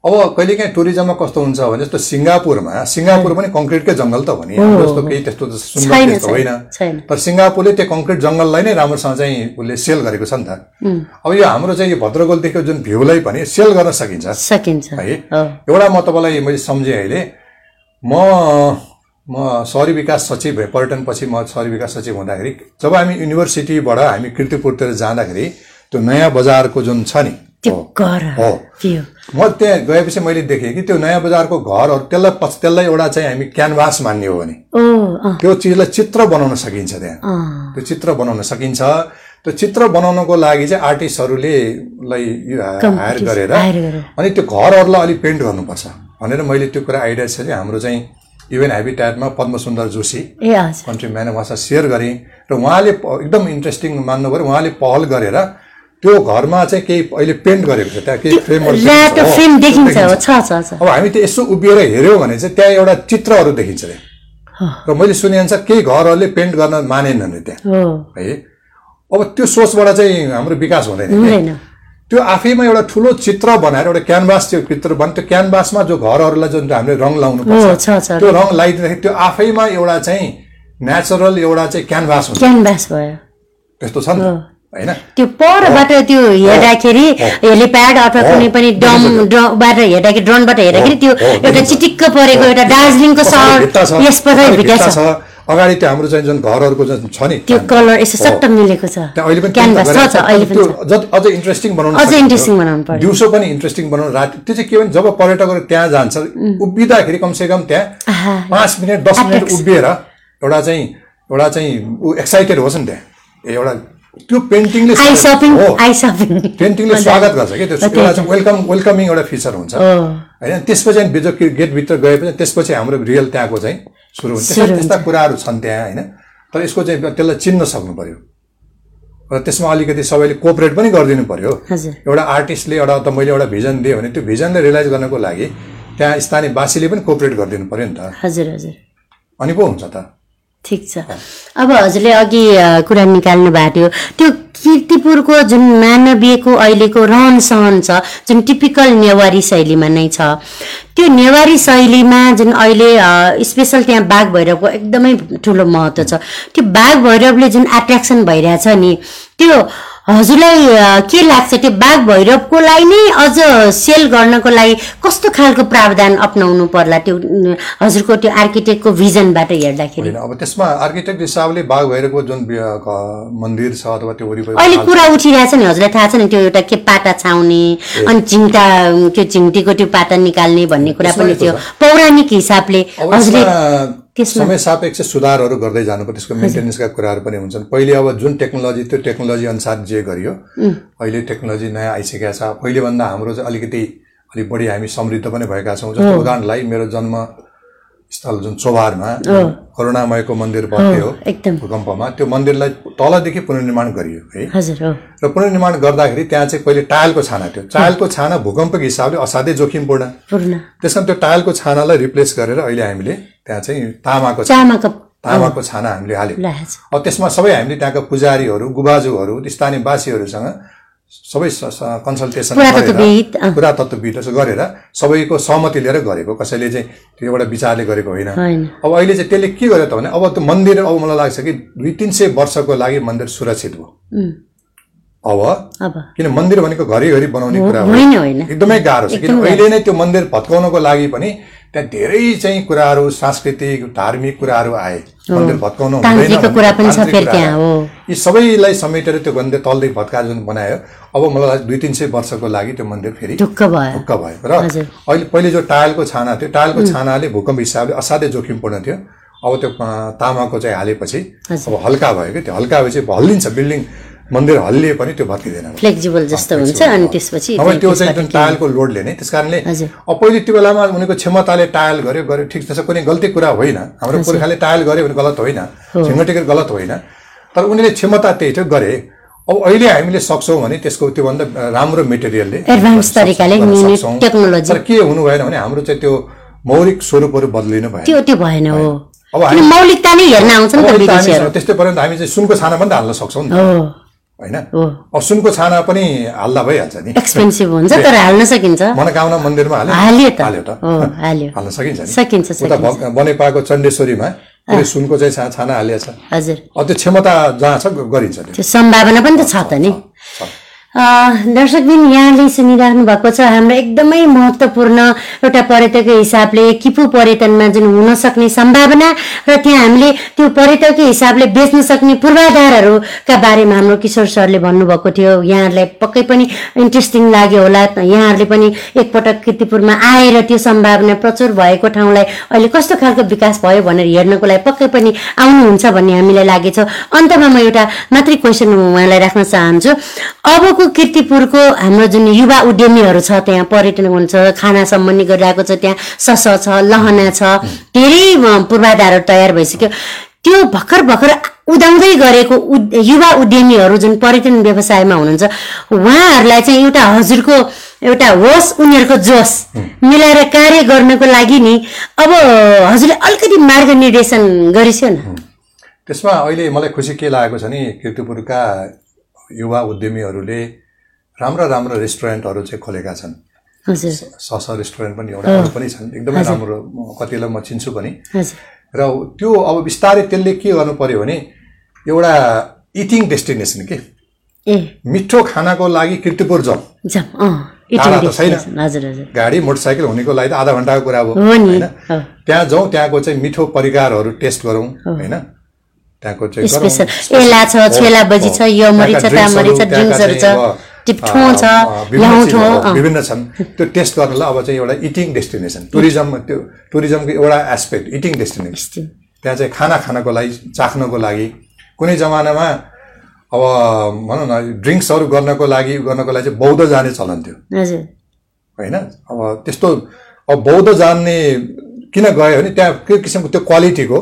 अब कहिलेकाहीँ टुरिज्ममा कस्तो हुन्छ भने जस्तो सिङ्गापुरमा सिङ्गापुर पनि कङ्क्रिटकै जङ्गल त हो नि हाम्रो जस्तो केही त्यस्तो त सुन्दर छैन, त्यस्तो होइन छैन, छैन। तर सिङ्गापुरले त्यो कङ्क्रिट जङ्गललाई नै राम्रोसँग चाहिँ उसले सेल गरेको छ नि त अब यो हाम्रो चाहिँ यो भद्रगोलदेखिको जुन भ्यूलाई पनि सेल गर्न सकिन्छ सकिन्छ है हो एउटा म तपाईँलाई मैले सम्झेँ अहिले म म सहरी विकास सचिव भएँ पर्यटनपछि म सहरी विकास सचिव हुँदाखेरि जब हामी युनिभर्सिटीबाट हामी किर्तिपुरतिर जाँदाखेरि त्यो नयाँ बजारको जुन छ नि त्यो घर हो। त्यो म त्यहाँ गएपछि मैले देखेँ कि त्यो नयाँ बजारको घरहरू त्यसलाई पछि त्यसलाई एउटा चाहिँ हामी क्यानभास मान्ने हो भने ओ अँ, त्यो चिजलाई चित्र बनाउन सकिन्छ त्यहाँ अँ, त्यो चित्र बनाउन सकिन्छ त्यो चित्र बनाउनको लागि चाहिँ आर्टिस्टहरूले लाई यो हा- हायर Competition, गरेर हायर गरेर। अनि त्यो घरहरूलाई अलिक पेन्ट गर्नुपर्छ भनेर मैले त्यो कुरा आइडिया छ कि हाम्रो चाहिँ इभेन हेबिट्याटमा पद्मसुन्दर जोशी ए हजुर कन्ट्री म्यान उहाँसँग सेयर गरेँ र उहाँले प- एकदम इन्ट्रेस्टिङ मान्नु पऱ्यो उहाँले पहल गरेर त्यो घरमा चाहिँ केही अहिले पेन्ट गरेको छ त्यहाँ केही फ्रेमहरू रातो फ्रेम देखिन्छ हो छ छ छ अब हामी त्यो यसो उभिएर हेऱ्यौँ भने चाहिँ त्यहाँ एउटा चित्रहरू देखिन्छ अरे। र मैले सुनेअनुसार केही घरहरूले पेन्ट गर्न मानेनन् अरे त्यहाँ हो है अब त्यो सोचबाट चाहिँ हाम्रो विकास हुँदैन क्या। हुँदैन त्यो आफैमा एउटा ठुलो चित्र बनाएर एउटा क्यानभास त्यो चित्र बन त्यो क्यानभासमा जो घरहरूलाई जुन हामीले रङ लाउनु हो पर्छ छ छ त्यो रङ लगाइदिँदाखेरि त्यो आफैमा एउटा चाहिँ नेचरल एउटा चाहिँ क्यानभास हुन्छ क्यानभास भयो त्यस्तो छ नि होइन त्यो परबाट त्यो हेर्दाखेरि हेलिप्याड अथवा हो। कुनै पनि डम ड्रबाट हेर्दाखेरि ड्रोनबाट हेर्दाखेरि त्यो हो, हो, एउटा देखिन्छ। चिटिक्क परेको एउटा दार्जिलिङको सहर पछाडि भित्ता छ यस पछाडि पछाडि भित्र भित्ता छ छ अगाडि त्यो हाम्रो चाहिँ जुन घरहरूको जुन छ नि त्यो कलर यसो हो। सट्ट मिलेको छ त्यहाँ अहिले पनि क्यानभास छ छ अहिले पनि त्यो छ जति अझ इन्ट्रेस्टिङ बनाउनु अझ सकिन्छ। इन्ट्रेस्टिङ बनाउनु पर्यो। दिउँसो पनि इन्ट्रेस्टिङ बनाउनु राति त्यो चाहिँ के भने जब पर्यटकहरू त्यहाँ जान्छ उभिँदाखेरि कमसेकम त्यहाँ आहा, पाँच मिनट दस मिनट Attracts. उभिएर एउटा चाहिँ एउटा चाहिँ ऊ एक्साइटेड होस् नि त्यहाँ ए एउटा त्यो पेन्टिङले आई सपिङ हो आई सपिङ पेन्टिङले स्वागत गर्छ कि त्यो हो, एउटा चाहिँ वेलकम वेलकमिङ एउटा फिचर हुन्छ हो। होइन त्यसपछि अनि बिजो गेटभित्र गएपछि त्यसपछि हाम्रो रियल त्यहाँको चाहिँ सुरु हुन्छ सुरु त्यसमा त्यस्ता कुराहरू छन् त्यहाँ होइन तर यसको चाहिँ त्यसलाई चिन्न सक्नु पर्यो र त्यसमा अलिकति सबैले कोअपरेट पनि गरिदिनु पर्यो हजुर एउटा आर्टिस्टले एउटा त मैले एउटा भिजन दिएँ भने त्यो भिजनलाई रियलाइज गर्नको लागि त्यहाँ स्थानीय बासीले पनि कोअपरेट गरिदिनु पर्यो नि त हजुर हजुर अनि पो हुन्छ त ठिक छ अब हजुरले अघि अ, कुरा निकाल्नु भएको थियो त्यो किर्तिपुरको जुन मानवीयको अहिलेको रहन सहन छ जुन टिपिकल नेवारी शैलीमा नै छ त्यो नेवारी शैलीमा जुन अहिले अ, स्पेसल त्यहाँ बाघ भैरवको एकदमै ठुलो महत्त्व छ त्यो बाघ भैरवले जुन एट्र्याक्सन भइरहेछ नि त्यो हजुरलाई अ, के लाग्छ त्यो बाघ भैरवको लागि नै अझ सेल गर्नको लागि कस्तो खालको प्रावधान अप्नाउनु पर्ला त्यो न, हजुरको त्यो आर्किटेक्टको भिजनबाट हेर्दाखेरि होइन अब त्यसमा आर्किटेक्ट हिसाबले बाघ भैरवको जुन बि- घ- मन्दिर छ अथवा त्यो वरिपरि अहिले पाल- कुरा उठिरहेछ नि हजुरलाई थाहा छ नि त्यो एउटा के पाटा छाउने अनि चिङ्टा उम्, त्यो चिङ्टीको त्यो पाटा निकाल्ने भन्ने कुरा त्यसमा पनि यस्तो थियो पौराणिक हिसाबले अब हजुरले यसमा त्यसमा- समय सापेक्ष सुधारहरू गर्दै जानुपर्छ त्यसको मेन्टेनेन्सका कुराहरू पनि हुन्छन् पहिले अब जुन टेक्नोलोजी त्यो टेक्नोलोजी अनुसार जे गरियो अहिले टेक्नोलोजी नयाँ आइसकेका छ पहिलेभन्दा हाम्रो चाहिँ अलिकति अलिक बढी हामी समृद्ध पनि भएका छौँ जस्तो उदाहरणलाई मेरो जन्म स्थल जुन चोभारमा करुणामयको मन्दिर बर्थ्यो एकदम भूकम्पमा त्यो मन्दिरलाई तलदेखि पुनर्निर्माण गरियो है हजुर हो र पुनर्निर्माण गर्दाखेरि त्यहाँ चाहिँ पहिले टायलको छाना थियो टायलको छाना भूकम्पको हिसाबले असाध्यै जोखिमपूर्ण पूर्ण त्यस कारण त्यो टायलको छानालाई रिप्लेस गरेर अहिले हामीले त्यहाँ चाहिँ तामाको चामाको तामाको छाना हामीले हाल्यौँ लाज। अब त्यसमा सबै हामीले त्यहाँका पुजारीहरू गुबाजुहरू स्थानीयवासीहरूसँग सबै कन्सल्टेसन पुरातत्त्वविद, अँ। पुरातत्त्वविद यसो गरेर सबैको सहमति लिएर गरेको कसैले चाहिँ त्यो एउटा विचारले गरेको होइन होइन अब अहिले चाहिँ त्यसले के गर्यो त भने अब त्यो मन्दिर अब मलाई लाग्छ कि दुई तिन सय वर्षको लागि मन्दिर सुरक्षित भयो उम्, अब अब किन मन्दिर भनेको घरिघरि बनाउने कुरा हो होइन होइन एकदमै गाह्रो छ किन अहिले नै त्यो मन्दिर भत्काउनको लागि पनि त्यहाँ धेरै चाहिँ कुराहरू सांस्कृतिक धार्मिक कुराहरू आए मन्दिर भत्काउनु हुँदैन तान्त्रिकको भन्ने कुरा पनि छ तान्त्रिक फेरि कुराहरू त्यहाँ हो यी सबैलाई समेटेर त्यो मन्दिर तलदेखि भत्काएर जुन बनायो अब मलाई लाग्छ दुई तिन सय वर्षको लागि त्यो मन्दिर फेरि ढुक्क भयो ढुक्क भयो र हजुर। अहिले पहिले जो टायलको छाना थियो टायलको छानाले भूकम्प हिसाबले असाध्यै जोखिमपूर्ण थियो अब त्यो अँ, तामाको चाहिँ हालेपछि हजुर। अब हल्का भयो कि त्यो हल्का भएपछि हल्लिन्छ बिल्डिङ मन्दिर हल्लिए पनि त्यो भत्किँदैन फ्लेक्जिबल जस्तो हुन्छ अनि त्यसपछि अब त्यो चाहिँ त्यसबाट जुन के- टायलको लोडले नै त्यस कारणले हजुर। अब पहिले त्यो बेलामा उनीहरूको क्षमताले टायल गर्यो गर्यो ठिक छ कुनै गल्ती कुरा होइन हाम्रो पुर्खाले टायल गर्यो भने गलत होइन सिङ्गटेकर गलत होइन तर उनीहरूले क्षमता त्यही थियो गरे अब अहिले हामीले सक्छौँ भने त्यसको त्योभन्दा राम्रो मेटेरियलले Advanced तरिकाले गर्न new- new सक्छौँ। technology। तर के हुनु भएन भने हाम्रो चाहिँ त्यो मौलिक स्वरूपहरू बदलिनु भयो त्यो त्यो भएन हो अब किन हामी- मौलिकता नै हेर्न आउँछ नि त विदेशीहरू त्यस्तै पर्यो भने त हामी चाहिँ सुनको छाना पनि त हाल्न सक्छौँ नि त, हो होइन हो अब सुनको छाना पनि हाल्दा भइहाल्छ नि एक्सपेन्सिभ हुन्छ तर हाल्न सकिन्छ मनोकामना मन्दिरमा हाल्यो हाल्यो त हाल्यो त हो हाल्यो हाल्न सकिन्छ नि सकिन्छ उता सकिन्छ भग- बनेपाको चण्डेश्वरीमा पुरै सुनको चाहिँ छा- छाना हालिएको छ हजुर अब त्यो क्षमता जहाँ छ गरिन्छ त्यो त्यो सम्भावना पनि त छ त नि दर्शकबिन यहाँले सुनिराख्नु भएको छ हाम्रो एकदमै महत्त्वपूर्ण एउटा पर्यटकीय हिसाबले किपु पर्यटनमा जुन हुन सक्ने सम्भावना र त्यहाँ हामीले त्यो पर्यटकीय हिसाबले बेच्न सक्ने पूर्वाधारहरूका बारेमा हाम्रो किशोर सरले भन्नुभएको थियो यहाँहरूलाई पक्कै पनि इन्ट्रेस्टिङ लाग्यो होला त यहाँहरूले पनि एकपटक किर्तिपुरमा आएर त्यो सम्भावना प्रचुर भएको ठाउँलाई अहिले कस्तो खालको विकास भयो भनेर हेर्नको लागि पक्कै पनि आउनुहुन्छ भन्ने हामीलाई लागेछ अन्तमा म एउटा मात्रै क्वेसन उहाँलाई राख्न चाहन्छु अबको किर्तिपुरको हाम्रो जुन युवा उद्यमीहरू छ त्यहाँ पर्यटन हुन्छ खाना सम्बन्धी गरिरहेको छ त्यहाँ सस छ लहना छ धेरै अँ, पूर्वाधारहरू तयार भइसक्यो त्यो भर्खर भर्खर उदाउँदै गरेको उद्- युवा उद्यमीहरू जुन पर्यटन व्यवसायमा हुनुहुन्छ उहाँहरूलाई चाहिँ एउटा हजुरको एउटा होस् उनीहरूको जोस मिलाएर कार्य गर्नको लागि नि अब हजुरले अलिकति मार्ग निर्देशन गरिसक्यो न त्यसमा अहिले मलाई खुसी के लागेको छ नि किर्तिपुरका युवा उद्यमीहरूले राम्रा राम्रा रेस्टुरेन्टहरू चाहिँ खोलेका छन् हजुर सस रेस्टुरेन्ट पनि एउटा अरू पनि छन् एकदमै राम्रो म कतिलाई म चिन्छु पनि हजुर र त्यो अब बिस्तारै त्यसले के गर्नु पर्यो भने एउटा इटिङ डेस्टिनेसन के ए मिठो खानाको लागि किर्तिपुर जाउँ जाउँ अँ टाढा इटिङ त छैन। destination, हजुर हजुर गाडी मोटरसाइकल हुनेको लागि त आधा घन्टाको कुरा हो हो नि होइन हो, त्यहाँ जाउँ त्यहाँको चाहिँ मिठो परिकारहरू टेस्ट गरौँ होइन त्यहाँको चाहिँ गरौँ। स्पेसल एला छ हो, छेला बजी हो। छ यो मरी छ त्यहाँका तामरी छ ड्रिङ्क्सहरू, ड्रिङ्क्सहरू छ त्यहाँका टिप्ठो छ चाहिँ अब, अँ, विभिन्न लाउँठो चिजहरू, अँ, विभिन्न छन् त्यो टेस्ट गर्नलाई अब चाहिँ एउटा इटिङ डेस्टिनेसन टुरिज्म त्यो टुरिज्मको एउटा एस्पेक्ट इटिङ डेस्टिनेसन यस्तै। त्यहाँ चाहिँ खाना खानको लागि चाख्नको लागि कुनै जमानामा अब भनौँ न ड्रिङ्क्सहरू गर्नको लागि गर्नको लागि चाहिँ बौद्ध जाने चलन थियो हजुर होइन अब त्यस्तो अब बौद्ध जान्ने किन गयो भने त्यहाँ के किसिमको त्यो क्वालिटीको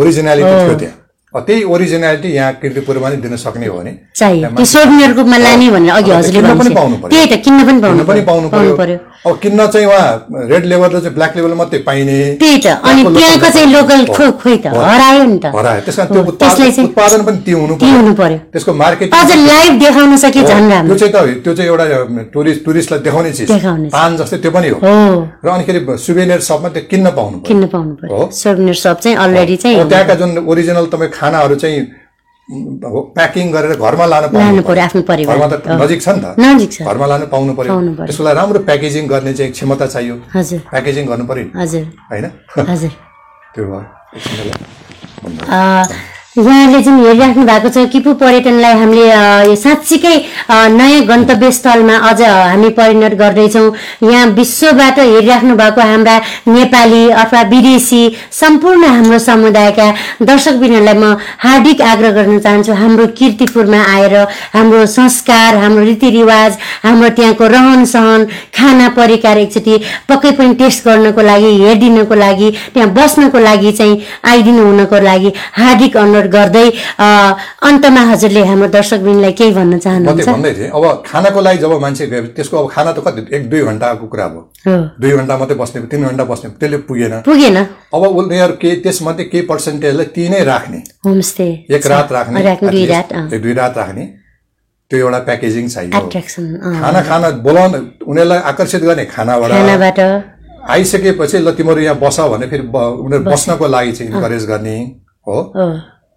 ओरिजिनालिटी थियो त्यहाँ अब त्यही ओरिजिनालिटी यहाँ किर्तिपुरमा नै दिन सक्ने हो भने चाहियो त्यहाँ त्यो मान्छे- सोभिनियरको रूपमा लाने भनेर अघि अब हजुरले किन्न पनि भन्नुभयो। पाउनु पर्यो। त्यही त किन्न पनि किन्न पाउनु पनि पाउनु पाउनु पर्यो पर्यो अब किन्न चाहिँ उहाँ रेड लेभल र चाहिँ ब्ल्याक लेभल मात्रै पाइने त्यही त अनि त्यहाँको त्यहाँको चाहिँ लोकल हो, खो खोइ त हो, हरायो नि त हरायो त्यस कारण त्यो हो, त्यसलाई उत्पादन चाहिँ उत्पादन पनि त्यो हुनु त्यही पर्यो हुनु पर्यो त्यसको मार्केट अझ लाइभ देखाउन सके झन् राम्रो त्यो चाहिँ त त्यो चाहिँ एउटा टुरिस्ट टुरिस्टलाई देखाउने चिज देखाउने चिज। पान जस्तै त्यो पनि हो हो र अनिखेरि सुवेनियर सपमा त्यो किन्न पाउनु पर्यो किन्न पाउनु पर्यो हो। सोभिनियर सप चाहिँ अलरेडी अब चाहिँ त्यहाँका जुन ओरिजिनल तपाईँ खानाहरू चाहिँ हो, प्याकिङ गरेर घरमा लानु लानु पाउनु पर्यो आफ्नो परिवार घरमा त नजिक छ नि त नजिक छ घरमा लानु पाउनु पर्यो पाउनु पर्यो। त्यसको लागि राम्रो प्याकेजिङ गर्ने चाहिँ क्षमता चाहियो हजुर प्याकेजिङ गर्नु पर्यो नि, हजुर होइन हजुर त्यो भयो एकछिन ल। अ, यहाँले जुन हेरिराख्नु भएको छ किपु पर्यटनलाई हामीले अ, यो साँच्चीकै अ, नयाँ गन्तव्य स्थलमा अझ हामी परिणत गर्दैछौँ यहाँ विश्वबाट हेरिराख्नु भएको हाम्रा नेपाली अथवा विदेशी सम्पूर्ण हाम्रो समुदायका दर्शकबिनहरूलाई म हार्दिक आग्रह गर्न चाहन्छु हाम्रो किर्तिपुरमा आएर हाम्रो संस्कार हाम्रो रीतिरिवाज हाम्रो त्यहाँको रहन सहन खाना परिकार एकचोटि पक्कै पनि टेस्ट गर्नको लागि हेरिदिनको लागि त्यहाँ बस्नको लागि चाहिँ आइदिनु हुनको लागि हार्दिक अनुरोध गर्दै अ, अन्तमा हजुरले हाम्रो दर्शकबिनलाई केही भन्न म त्यो चाहनुहुन्छ भन्दै थिएँ अब खानाको लागि जब मान्छे गयो त्यसको अब खाना त कति एक दुई घन्टाको कुरा भयो हो दुई घन्टा मात्रै बस्ने तिन घन्टा बस्ने त्यसले पुगेन पुगेन अब उनीहरू के त्यसमध्ये केही पर्सेन्टेजलाई ती नै राख्ने होमस्टे एक रात राख्ने राख्ने दुई at least, रात अँ, एक दुई रात राख्ने त्यो एउटा प्याकेजिङ चाहियो एट्र्याक्सन अँ, खाना खाना बोलाउन उनीहरूलाई आकर्षित गर्ने खानाबाट खानाबाट आइसकेपछि ल तिमीहरू यहाँ बस भने फेरि ब- उनीहरू बस्नको लागि चाहिँ इन्करेज गर्ने हो हो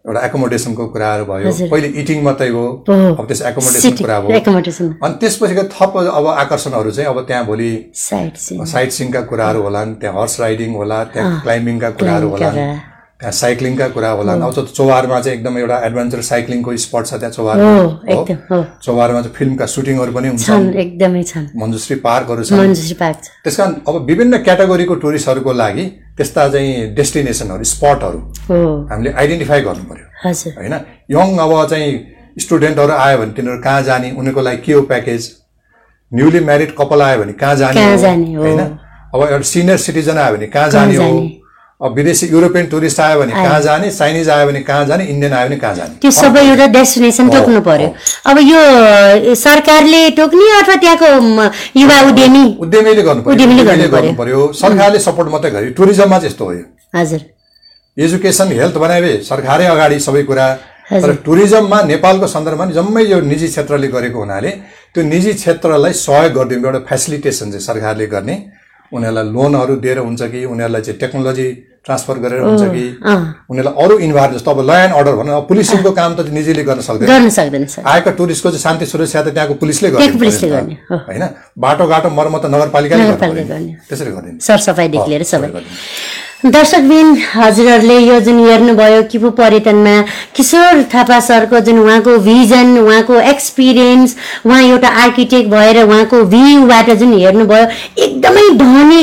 एउटा एकोमोडेसनको कुराहरू भयो हजुर। पहिले इटिङ मात्रै हो हो। अब त्यस एकोमोडेसनको कुरा भयो एकोमोडेसन अनि त्यसपछिको थप अब आकर्षणहरू चाहिँ अब त्यहाँ भोलि साइड सिन साइट सिङका कुराहरू होलान् त्यहाँ हर्स राइडिङ होला त्यहाँ क्लाइम्बिङका कुराहरू क्लाइम्बिङका होलान् त्यहाँ साइक्लिङका कुरा होलान् अब त्यो चौहारमा चाहिँ एकदम एउटा एडभेन्चर साइक्लिङको स्पट छ त्यहाँ चौहारमा हो हो एकदम हो चौहारमा चाहिँ फिल्मका सुटिङहरू पनि हुन्छ छन् एकदमै छन् मञ्जुश्री पार्कहरू छ मन्जुश्री पार्क छ त्यस कारण अब विभिन्न क्याटेगोरीको टुरिस्टहरूको लागि त्यस्ता चाहिँ डेस्टिनेसनहरू स्पटहरू हो हामीले आइडेन्टिफाई गर्नु पर्यो हजुर होइन यङ अब चाहिँ स्टुडेन्टहरू आयो भने तिनीहरू कहाँ जाने उनीहरूको लागि के हो प्याकेज न्युली म्यारिड कपाल आयो भने कहाँ जाने कहाँ हो, जाने हो। होइन अब एउटा सिनियर सिटिजन आयो भने कहाँ जाने हो जाने? अब विदेशी युरोपियन टुरिस्ट आयो भने कहाँ जाने चाइनिज आयो भने कहाँ जाने इन्डियन आयो भने कहाँ जाने त्यो सबै एउटा डेस्टिनेसन तोक्नु पर्यो अब यो अ, सरकारले टोक्ने अथवा त्यहाँको म, युवा उद्यमी उद्यमीले गर्नु पर्यो उद्यमीले गर्नु गर्नु पर्यो सरकारले सपोर्ट मात्रै गर्यो टुरिज्ममा चाहिँ यस्तो हो यो हजुर एजुकेसन हेल्थ बनाए सरकारै अगाडि सबै कुरा हजुर। तर टुरिज्ममा नेपालको सन्दर्भमा नि जम्मै यो निजी क्षेत्रले गरेको हुनाले त्यो निजी क्षेत्रलाई सहयोग गरिदिउँ एउटा फेसिलिटेसन चाहिँ सरकारले गर्ने उनीहरूलाई लोनहरू दिएर हुन्छ कि उनीहरूलाई चाहिँ टेक्नोलोजी ट्रान्सफर गरेर हुन्छ कि अँ, उनीहरूलाई अरू इन्भाइरोमेन्ट जस्तो अब ल एन्ड अर्डर भनौँ अब पुलिसिङको काम त निजीले गर्न सक्दैन गर्न सक्दैन सर आएका टुरिस्टको चाहिँ शान्ति सुरक्षा त त्यहाँको पुलिसले त्यहाँको पुलिसले पर्यो नि गर्ने, त। हो। होइन बाटोघाटो मर्मत त नगरपालिकाले गर्नु पर्यो नगरपालिकाले नि। त्यसरी गरिदिनु सरसफाइदेखि लिएर सबै गरिदिनु। दर्शकबिन हजुरहरूले यो जुन हेर्नुभयो किपु पर्यटनमा किशोर थापा सरको जुन उहाँको भिजन उहाँको एक्सपिरियन्स उहाँ एउटा आर्किटेक्ट भएर उहाँको भ्यूबाट जुन हेर्नुभयो एकदमै धनी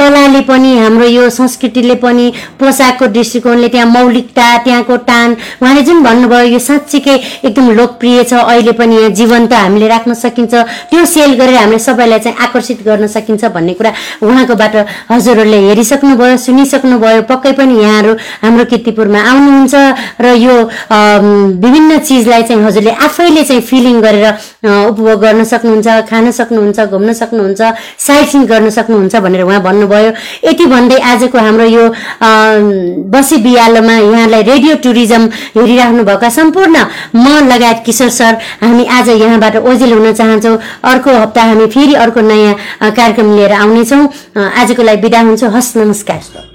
कलाले पनि हाम्रो यो संस्कृतिले पनि पोसाकको दृष्टिकोणले त्यहाँ मौलिकता त्यहाँको टान उहाँले जुन भन्नुभयो यो साँच्चीकै एकदम लोकप्रिय छ अहिले पनि यहाँ जीवन्त हामीले राख्न सकिन्छ त्यो सेल गरेर हामीले सबैलाई चाहिँ आकर्षित गर्न सकिन्छ भन्ने कुरा उहाँकोबाट हजुरहरूले हेरिसक्नुभयो सुनिसक्नुभयो पक्कै पनि यहाँहरू हाम्रो किर्तिपुरमा आउनुहुन्छ र यो अम, विभिन्न चिजलाई चाहिँ हजुरले आफैले चाहिँ फिलिङ गरेर अ, उपभोग गर्न सक्नुहुन्छ खान सक्नुहुन्छ घुम्न सक्नुहुन्छ साइट सिन गर्न सक्नुहुन्छ भनेर उहाँ भन्नुभयो यति भन्दै आजको हाम्रो यो अम, बसी बिहालोमा यहाँलाई रेडियो टुरिज्म हेरिराख्नु भएका सम्पूर्ण म लगायत किशोर सर हामी आज यहाँबाट ओजेल हुन चाहन्छौँ अर्को हप्ता हामी फेरि अर्को नयाँ अ, कार्यक्रम लिएर आउनेछौँ अ, आजको लागि बिदा हुन्छौँ हस् नमस्कार